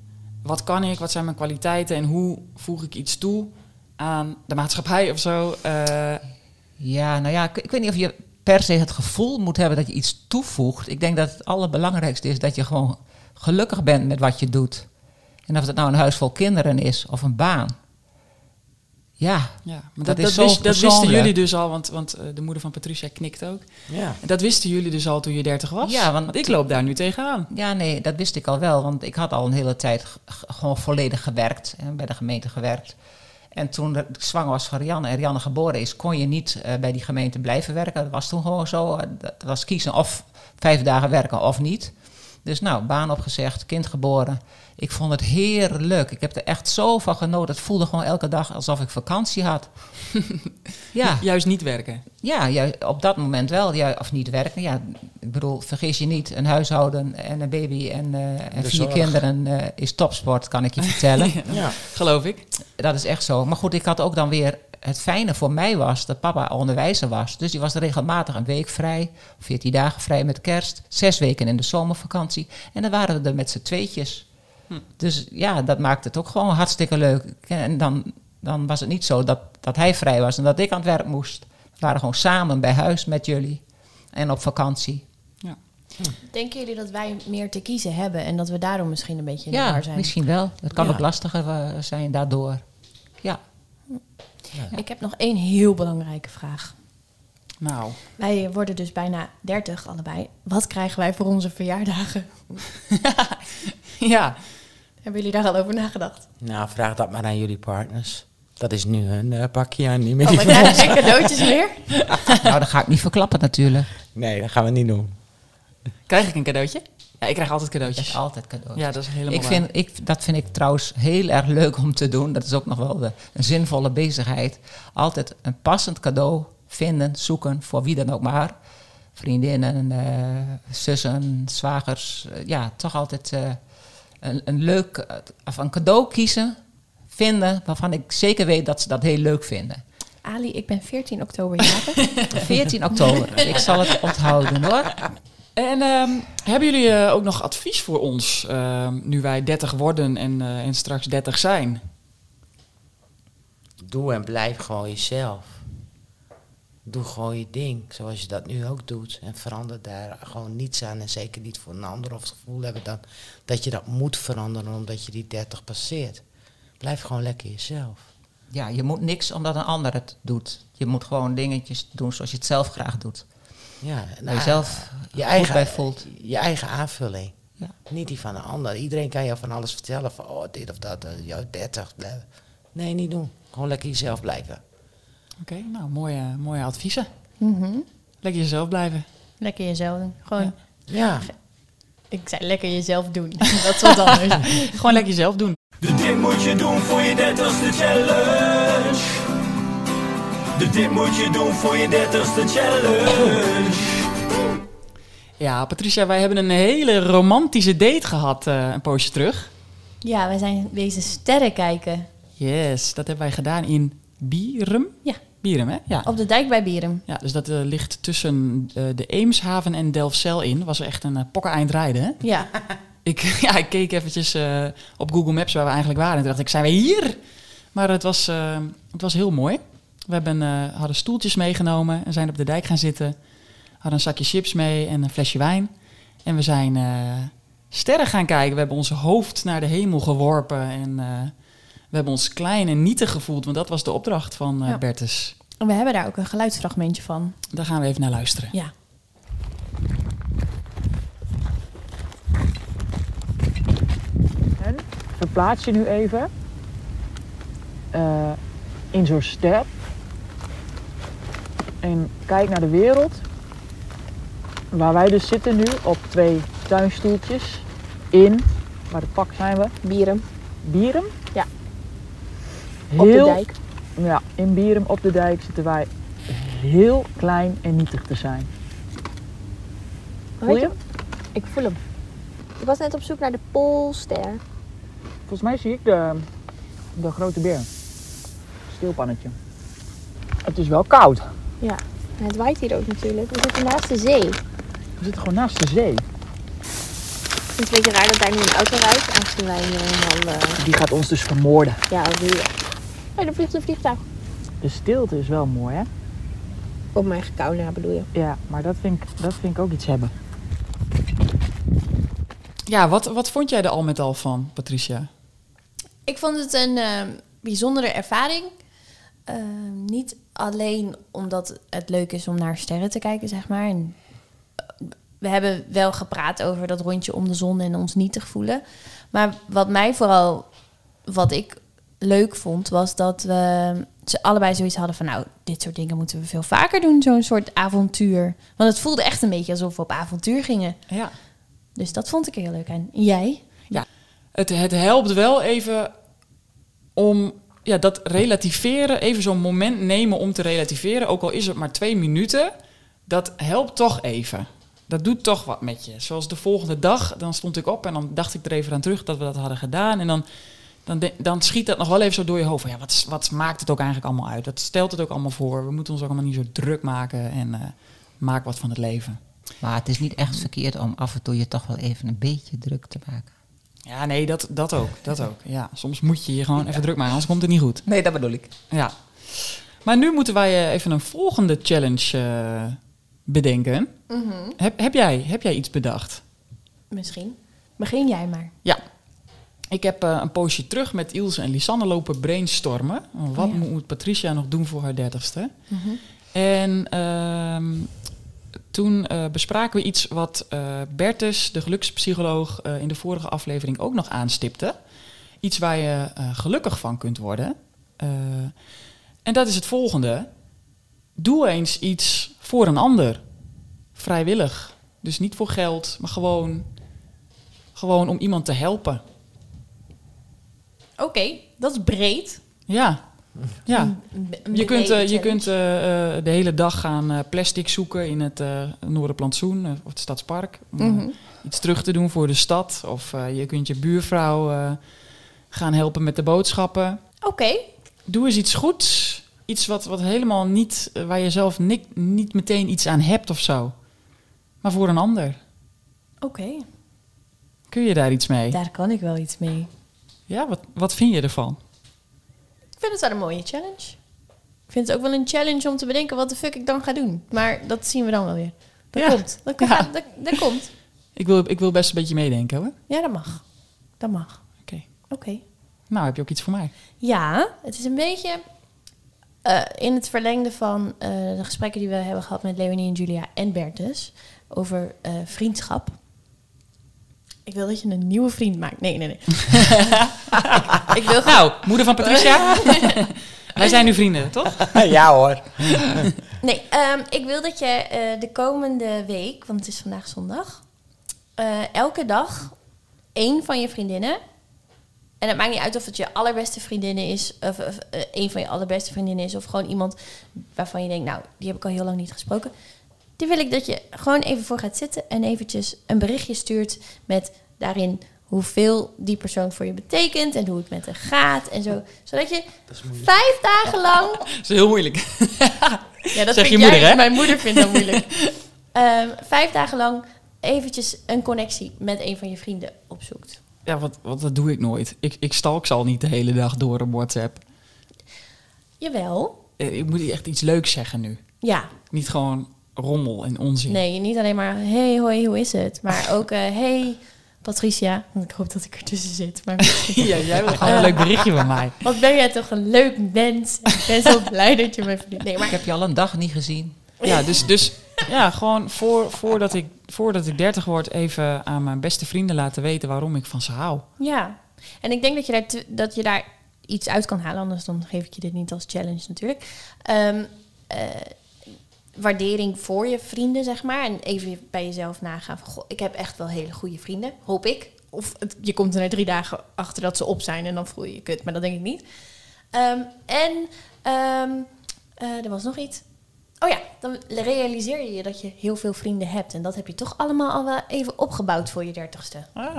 [SPEAKER 2] Wat kan ik, wat zijn mijn kwaliteiten en hoe voeg ik iets toe aan de maatschappij of zo? Eh,
[SPEAKER 5] Ja, nou ja, ik, ik weet niet of je per se het gevoel moet hebben dat je iets toevoegt. Ik denk dat het allerbelangrijkste is dat je gewoon gelukkig bent met wat je doet. En of dat nou een huis vol kinderen is of een baan. Ja,
[SPEAKER 2] ja, maar
[SPEAKER 5] Dat
[SPEAKER 2] dat,
[SPEAKER 5] is
[SPEAKER 2] dat,
[SPEAKER 5] zo
[SPEAKER 2] wist- dat wisten
[SPEAKER 5] persoonlijk.
[SPEAKER 2] jullie dus al, want, want eh, de moeder van Patricia knikt ook.
[SPEAKER 4] Ja.
[SPEAKER 2] Dat wisten jullie dus al toen je 30 was?
[SPEAKER 5] Ja, want-
[SPEAKER 2] ik loop daar nu tegenaan.
[SPEAKER 5] Ja, nee, dat wist ik al wel. Want ik had al een hele tijd g- g- gewoon volledig gewerkt. Hè, bij de gemeente gewerkt. En toen er- ik zwanger was van Rianne en Rianne geboren is... kon je niet eh, bij die gemeente blijven werken. Dat was toen gewoon zo. eh, Dat was kiezen of vijf dagen werken of niet. Dus nou, baan opgezegd, kind geboren. Ik vond het heerlijk. Ik heb er echt zo van genoten. Het voelde gewoon elke dag alsof ik vakantie had. ja.
[SPEAKER 2] Juist niet werken.
[SPEAKER 5] Ja, ju- op dat moment wel. Ja, of niet werken. Ja, ik bedoel, vergis je niet. Een huishouden en een baby en, eh, en
[SPEAKER 4] De
[SPEAKER 5] vier
[SPEAKER 4] zorg.
[SPEAKER 5] kinderen eh, is topsport, kan ik je vertellen.
[SPEAKER 4] Ja.
[SPEAKER 2] Geloof ik.
[SPEAKER 5] dat is echt zo. Maar goed, ik had ook dan weer... Het fijne voor mij was dat papa onderwijzer was. Dus die was regelmatig een week vrij. 14 dagen vrij met kerst. Zes weken in de zomervakantie. En dan waren we er met z'n tweetjes.
[SPEAKER 1] Hm.
[SPEAKER 5] Dus ja, dat maakte het ook gewoon hartstikke leuk. En dan, dan was het niet zo dat, dat hij vrij was en dat ik aan het werk moest. We waren gewoon samen bij huis met jullie. En op vakantie.
[SPEAKER 1] Denken jullie dat wij meer te kiezen hebben en dat we daarom misschien een beetje in de
[SPEAKER 5] Ja,
[SPEAKER 1] war zijn?
[SPEAKER 5] misschien wel. Het kan
[SPEAKER 4] Ja.
[SPEAKER 5] ook lastiger eh, zijn daardoor. Ja.
[SPEAKER 1] Ik heb nog één heel belangrijke vraag.
[SPEAKER 2] Nou,
[SPEAKER 1] Wij worden dus bijna 30 allebei. Wat krijgen wij voor onze verjaardagen?
[SPEAKER 2] ja.
[SPEAKER 1] Hebben jullie daar al over nagedacht?
[SPEAKER 4] Nou, vraag dat maar aan jullie partners. Dat is nu hun eh, pakje aan, niet meer.
[SPEAKER 1] Oh, maar krijgen ze cadeautjes meer?
[SPEAKER 5] nou, dat ga ik niet verklappen natuurlijk.
[SPEAKER 4] Nee, dat gaan we niet doen.
[SPEAKER 2] Krijg ik een cadeautje? Ja, ik krijg altijd cadeautjes.
[SPEAKER 5] is altijd cadeautjes.
[SPEAKER 2] Ja, dat is helemaal
[SPEAKER 5] Ik
[SPEAKER 2] waar.
[SPEAKER 5] vind, ik, dat vind ik trouwens heel erg leuk om te doen. Dat is ook nog wel de, een zinvolle bezigheid. Altijd een passend cadeau vinden, zoeken, voor wie dan ook maar. Vriendinnen, eh, zussen, zwagers. Eh, ja, toch altijd eh, een, een leuk... eh, of een cadeau kiezen, vinden, waarvan ik zeker weet dat ze dat heel leuk vinden.
[SPEAKER 1] Ali, ik ben 14 oktober jarig.
[SPEAKER 5] 14 oktober. Dus ik zal het onthouden hoor.
[SPEAKER 2] En ehm, hebben jullie eh, ook nog advies voor ons, ehm, nu wij 30 worden en, eh, en straks 30 zijn?
[SPEAKER 4] Doe en blijf gewoon jezelf. Doe gewoon je ding, zoals je dat nu ook doet. En verander daar gewoon niets aan. En zeker niet voor een ander of het gevoel hebben dan, dat je dat moet veranderen omdat je die 30 passeert. Blijf gewoon lekker jezelf.
[SPEAKER 5] Ja, je moet niks omdat een ander het doet. Je moet gewoon dingetjes doen zoals je het zelf graag doet.
[SPEAKER 4] Ja,
[SPEAKER 5] Waar
[SPEAKER 4] nou,
[SPEAKER 5] je zelf
[SPEAKER 4] je eigen,
[SPEAKER 5] bij voelt.
[SPEAKER 4] Je eigen aanvulling.
[SPEAKER 5] Ja.
[SPEAKER 4] Niet die van een ander. Iedereen kan jou van alles vertellen. Van, oh, dit of dat. eh, jou 30. bla. Nee, niet doen. Gewoon lekker jezelf blijven.
[SPEAKER 2] Oké, nou, mooie, mooie adviezen. Lekker jezelf blijven.
[SPEAKER 1] Lekker jezelf doen. Gewoon,
[SPEAKER 4] Ja.
[SPEAKER 1] ik zei lekker jezelf doen. dat is wat anders.
[SPEAKER 2] Gewoon lekker jezelf doen.
[SPEAKER 3] De dit moet je doen voor je dertigste challenge. De dit moet je doen voor je dertigste challenge.
[SPEAKER 2] Ja, Patricia, wij hebben een hele romantische date gehad eh, een poosje terug.
[SPEAKER 1] ja, wij zijn deze sterren kijken.
[SPEAKER 2] Yes, dat hebben wij gedaan in Bierum.
[SPEAKER 1] Ja,
[SPEAKER 2] Bierum, hè? Ja.
[SPEAKER 1] op de dijk bij Bierum.
[SPEAKER 2] Ja, dus dat eh, ligt tussen eh, de Eemshaven en Delfzijl in. Was echt een uh, eind rijden, hè?
[SPEAKER 1] Ja,
[SPEAKER 2] Ik, ja, ik keek eventjes eh, op Google Maps waar we eigenlijk waren. En toen dacht ik, zijn we hier? Maar het was, eh, het was heel mooi. We hebben, eh, hadden stoeltjes meegenomen en zijn op de dijk gaan zitten. Hadden een zakje chips mee en een flesje wijn. En we zijn eh, sterren gaan kijken. We hebben ons hoofd naar de hemel geworpen. En eh, we hebben ons klein en nietig gevoeld. Want dat was de opdracht van eh
[SPEAKER 1] Ja.
[SPEAKER 2] Bertus.
[SPEAKER 1] en we hebben daar ook een geluidsfragmentje van.
[SPEAKER 2] Daar gaan we even naar luisteren.
[SPEAKER 1] Ja.
[SPEAKER 6] verplaats je nu even eh, in zo'n ster. En kijk naar de wereld. Waar wij dus zitten nu op twee tuinstoeltjes in, waar de pak zijn we?
[SPEAKER 7] Bierum,
[SPEAKER 6] Bierum.
[SPEAKER 7] Ja.
[SPEAKER 6] Heel,
[SPEAKER 7] op de dijk.
[SPEAKER 6] Ja, in Bierum op de dijk zitten wij heel klein en nietig te zijn. Voel
[SPEAKER 7] Weet
[SPEAKER 6] je?
[SPEAKER 7] Ik voel hem. Ik was net op zoek naar de Poolster.
[SPEAKER 6] Volgens mij zie ik de, de grote beer. Stilpannetje. Het is wel koud.
[SPEAKER 7] Ja. En het waait hier ook natuurlijk. We zitten naast de zee.
[SPEAKER 6] We zitten gewoon naast de zee.
[SPEAKER 7] Ik vind het een beetje raar dat daar nu een auto rijdt. Aangezien wij hier helemaal... eh,
[SPEAKER 6] Die gaat ons dus vermoorden.
[SPEAKER 7] ja, wie... Oh, er vliegt een vliegtuig.
[SPEAKER 6] De stilte is wel mooi, hè?
[SPEAKER 7] Op mijn eigen kou na bedoel je.
[SPEAKER 6] Ja, maar dat vind ik, dat vind ik ook iets hebben.
[SPEAKER 2] Ja, wat, wat vond jij er al met al van, Patricia?
[SPEAKER 1] Ik vond het een ehm, bijzondere ervaring. Ehm, niet alleen omdat het leuk is om naar sterren te kijken, zeg maar. En eh, we hebben wel gepraat over dat rondje om de zon en ons nietig voelen. Maar wat mij vooral, wat ik leuk vond, was dat we ehm, ze allebei zoiets hadden van... nou, dit soort dingen moeten we veel vaker doen, zo'n soort avontuur. Want het voelde echt een beetje alsof we op avontuur gingen.
[SPEAKER 2] Ja.
[SPEAKER 1] Dus dat vond ik heel leuk. En jij?
[SPEAKER 2] Het, het helpt wel even om ja, dat relativeren, even zo'n moment nemen om te relativeren, ook al is het maar twee minuten, dat helpt toch even. Dat doet toch wat met je. Zoals de volgende dag, dan stond ik op en dan dacht ik er even aan terug dat we dat hadden gedaan. En dan, dan, de- dan schiet dat nog wel even zo door je hoofd. Van, ja, wat, is- wat maakt het ook eigenlijk allemaal uit? Dat stelt het ook allemaal voor. We moeten ons ook allemaal niet zo druk maken en eh, maak wat van het leven.
[SPEAKER 5] Maar het is niet echt verkeerd om af en toe je toch wel even een beetje druk te maken.
[SPEAKER 2] Ja, nee, dat, dat ook. Dat ook. Ja, soms moet je je gewoon even druk maken, anders komt het niet goed.
[SPEAKER 5] Nee, dat bedoel ik.
[SPEAKER 2] Ja. Maar nu moeten wij eh, even een volgende challenge eh, bedenken.
[SPEAKER 5] Mhm.
[SPEAKER 2] Heb, heb, jij, heb jij iets bedacht?
[SPEAKER 1] Misschien. Begin jij maar.
[SPEAKER 2] Ja. Ik heb eh, een poosje terug met Ilse en Lisanne lopen brainstormen. Wat
[SPEAKER 1] ja.
[SPEAKER 2] moet Patricia nog doen voor haar dertigste? En ehm, toen eh, bespraken we iets wat eh, Bertus, de gelukspsycholoog, eh, in de vorige aflevering ook nog aanstipte. Iets waar je eh, gelukkig van kunt worden. Eh, en dat is het volgende. Doe eens iets voor een ander. Vrijwillig. Dus niet voor geld, maar gewoon, gewoon om iemand te helpen.
[SPEAKER 1] Oké, dat is breed.
[SPEAKER 2] Ja, ja.
[SPEAKER 1] Een be- een
[SPEAKER 2] Je kunt,
[SPEAKER 1] brede
[SPEAKER 2] eh, je
[SPEAKER 1] challenge.
[SPEAKER 2] kunt eh, eh, de hele dag gaan eh, plastic zoeken in het eh Noorderplantsoen eh, of het Stadspark. Om eh,
[SPEAKER 1] Mhm.
[SPEAKER 2] iets terug te doen voor de stad. Of eh, je kunt je buurvrouw eh, gaan helpen met de boodschappen.
[SPEAKER 1] Oké,
[SPEAKER 2] Doe eens iets goeds. Iets wat, wat helemaal niet, eh, waar je zelf ni- niet meteen iets aan hebt of zo. Maar voor een ander.
[SPEAKER 1] oké.
[SPEAKER 2] Kun je daar iets mee?
[SPEAKER 1] Daar kan ik wel iets mee.
[SPEAKER 2] Ja, wat, wat vind je ervan?
[SPEAKER 1] Ik vind het wel een mooie challenge. Ik vind het ook wel een challenge om te bedenken wat de fuck ik dan ga doen. Maar dat zien we dan wel weer. Dat
[SPEAKER 2] Ja.
[SPEAKER 1] komt. Dat,
[SPEAKER 2] Ja.
[SPEAKER 1] gaat- dat, dat komt.
[SPEAKER 2] Ik wil, ik wil best een beetje meedenken hoor.
[SPEAKER 1] Ja, dat mag. Dat mag.
[SPEAKER 2] Oké.
[SPEAKER 1] Oké.
[SPEAKER 2] Nou, heb je ook iets voor mij?
[SPEAKER 1] Ja, het is een beetje eh, in het verlengde van eh, de gesprekken die we hebben gehad met Leonie en Julia en Bertus over eh, vriendschap. Ik wil dat je een nieuwe vriend maakt. Nee, nee, nee. ik, ik wil gewoon.
[SPEAKER 2] Nou, moeder van Patricia. Wij zijn nu vrienden, toch?
[SPEAKER 4] ja hoor.
[SPEAKER 1] Nee, ehm, ik wil dat je eh, de komende week, want het is vandaag zondag, eh, elke dag één van je vriendinnen. En het maakt niet uit of het je allerbeste vriendinnen is, of, of, eh, één van je allerbeste vriendinnen is, of gewoon iemand waarvan je denkt, nou, die heb ik al heel lang niet gesproken. Die wil ik dat je gewoon even voor gaat zitten en eventjes een berichtje stuurt met daarin hoeveel die persoon voor je betekent en hoe het met haar gaat en zo. Zodat je vijf dagen lang
[SPEAKER 2] Dat is heel moeilijk.
[SPEAKER 1] ja, dat
[SPEAKER 2] Zeg
[SPEAKER 1] vind jij-
[SPEAKER 2] je
[SPEAKER 1] dus
[SPEAKER 2] moeder, hè?
[SPEAKER 1] Mijn moeder vindt dat moeilijk. Ehm, vijf dagen lang eventjes een connectie met een van je vrienden opzoekt.
[SPEAKER 2] Ja, want, want dat doe ik nooit. Ik, ik stalk ze al niet de hele dag door op WhatsApp.
[SPEAKER 1] Jawel.
[SPEAKER 2] Eh, Ik moet hier echt iets leuks zeggen nu.
[SPEAKER 1] Ja.
[SPEAKER 2] Niet gewoon rommel en onzin.
[SPEAKER 1] Nee, niet alleen maar hey, hoi, hoe is het? Maar ook eh, hey, Patricia. Want Ik hoop dat ik ertussen zit. Maar
[SPEAKER 2] Ja, jij wil gewoon een leuk berichtje van mij.
[SPEAKER 1] wat ben jij toch een leuk mens. Ik ben zo blij dat je mij verdient. Nee,
[SPEAKER 5] Ik
[SPEAKER 1] maar
[SPEAKER 5] heb je al een dag niet gezien.
[SPEAKER 2] Ja, dus, dus ja, gewoon voor, voordat, ik, voordat ik 30 word, even aan mijn beste vrienden laten weten waarom ik van ze hou.
[SPEAKER 1] Ja, en ik denk dat je daar, te- dat je daar iets uit kan halen, anders dan geef ik je dit niet als challenge natuurlijk. Ehm, eh, waardering voor je vrienden, zeg maar. En even bij jezelf nagaan van, goh, ik heb echt wel hele goede vrienden, hoop ik. Of het- je komt er na drie dagen achter dat ze op zijn en dan voel je je kut, maar dat denk ik niet. Ehm, en ehm, eh, er was nog iets. Oh ja, dan realiseer je je dat je heel veel vrienden hebt. En dat heb je toch allemaal al wel even opgebouwd voor je dertigste.
[SPEAKER 2] Ah,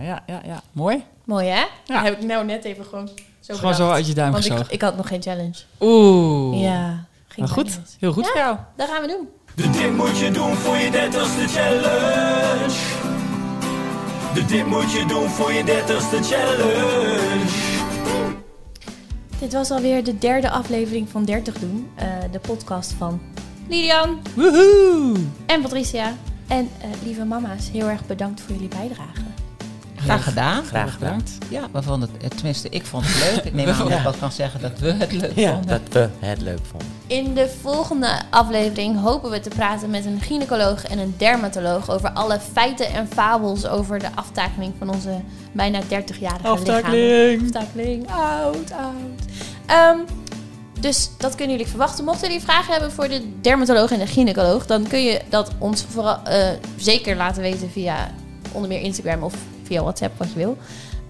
[SPEAKER 2] ja, ja, ja. Mooi.
[SPEAKER 1] Mooi hè? Dat heb ik nou net even gewoon zo
[SPEAKER 2] Gewoon
[SPEAKER 1] bedacht.
[SPEAKER 2] zo uit je duim
[SPEAKER 1] Want ik,
[SPEAKER 2] gezogen.
[SPEAKER 1] ik had nog geen challenge.
[SPEAKER 2] Oeh.
[SPEAKER 1] Ja, ging
[SPEAKER 2] Maar goed,
[SPEAKER 1] bijna mis.
[SPEAKER 2] heel goed
[SPEAKER 1] Ja,
[SPEAKER 2] voor jou.
[SPEAKER 1] Dat gaan we doen.
[SPEAKER 3] De dit moet je doen voor je dertigste challenge. De dit moet je doen voor je dertigste challenge.
[SPEAKER 1] Dit was alweer de derde aflevering van 30 Doen. eh, de podcast van Lilian
[SPEAKER 2] Woehoe.
[SPEAKER 1] en Patricia. En eh, lieve mama's, heel erg bedankt voor jullie bijdrage.
[SPEAKER 5] Graag gedaan.
[SPEAKER 4] Graag gedaan.
[SPEAKER 2] Bedankt.
[SPEAKER 5] Ja, we vonden het, eh, tenminste, ik vond het leuk. Ik neem aan dat ik wel kan zeggen dat we het leuk
[SPEAKER 4] Ja,
[SPEAKER 5] vonden.
[SPEAKER 4] dat we het leuk vonden.
[SPEAKER 1] In de volgende aflevering hopen we te praten met een gynaecoloog en een dermatoloog over alle feiten en fabels over de aftakeling van onze bijna 30-jarige lichaam.
[SPEAKER 2] Aftakeling.
[SPEAKER 1] Aftakeling. Oud, oud. Ehm, dus dat kunnen jullie verwachten. Mochten jullie vragen hebben voor de dermatoloog en de gynaecoloog, dan kun je dat ons vooral, eh, zeker laten weten via onder meer Instagram of via WhatsApp, wat je wil.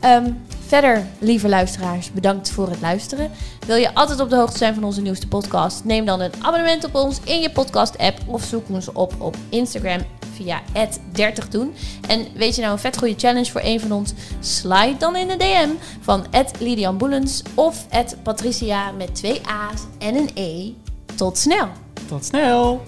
[SPEAKER 1] Ehm, verder, lieve luisteraars, bedankt voor het luisteren. Wil je altijd op de hoogte zijn van onze nieuwste podcast? Neem dan een abonnement op ons in je podcast-app of zoek ons op op Instagram via 30 doen. En weet je nou een vet goede challenge voor een van ons? Slide dan in de DM van Lidian Boelens of Patricia met twee A's en een E. Tot snel!
[SPEAKER 2] Tot snel.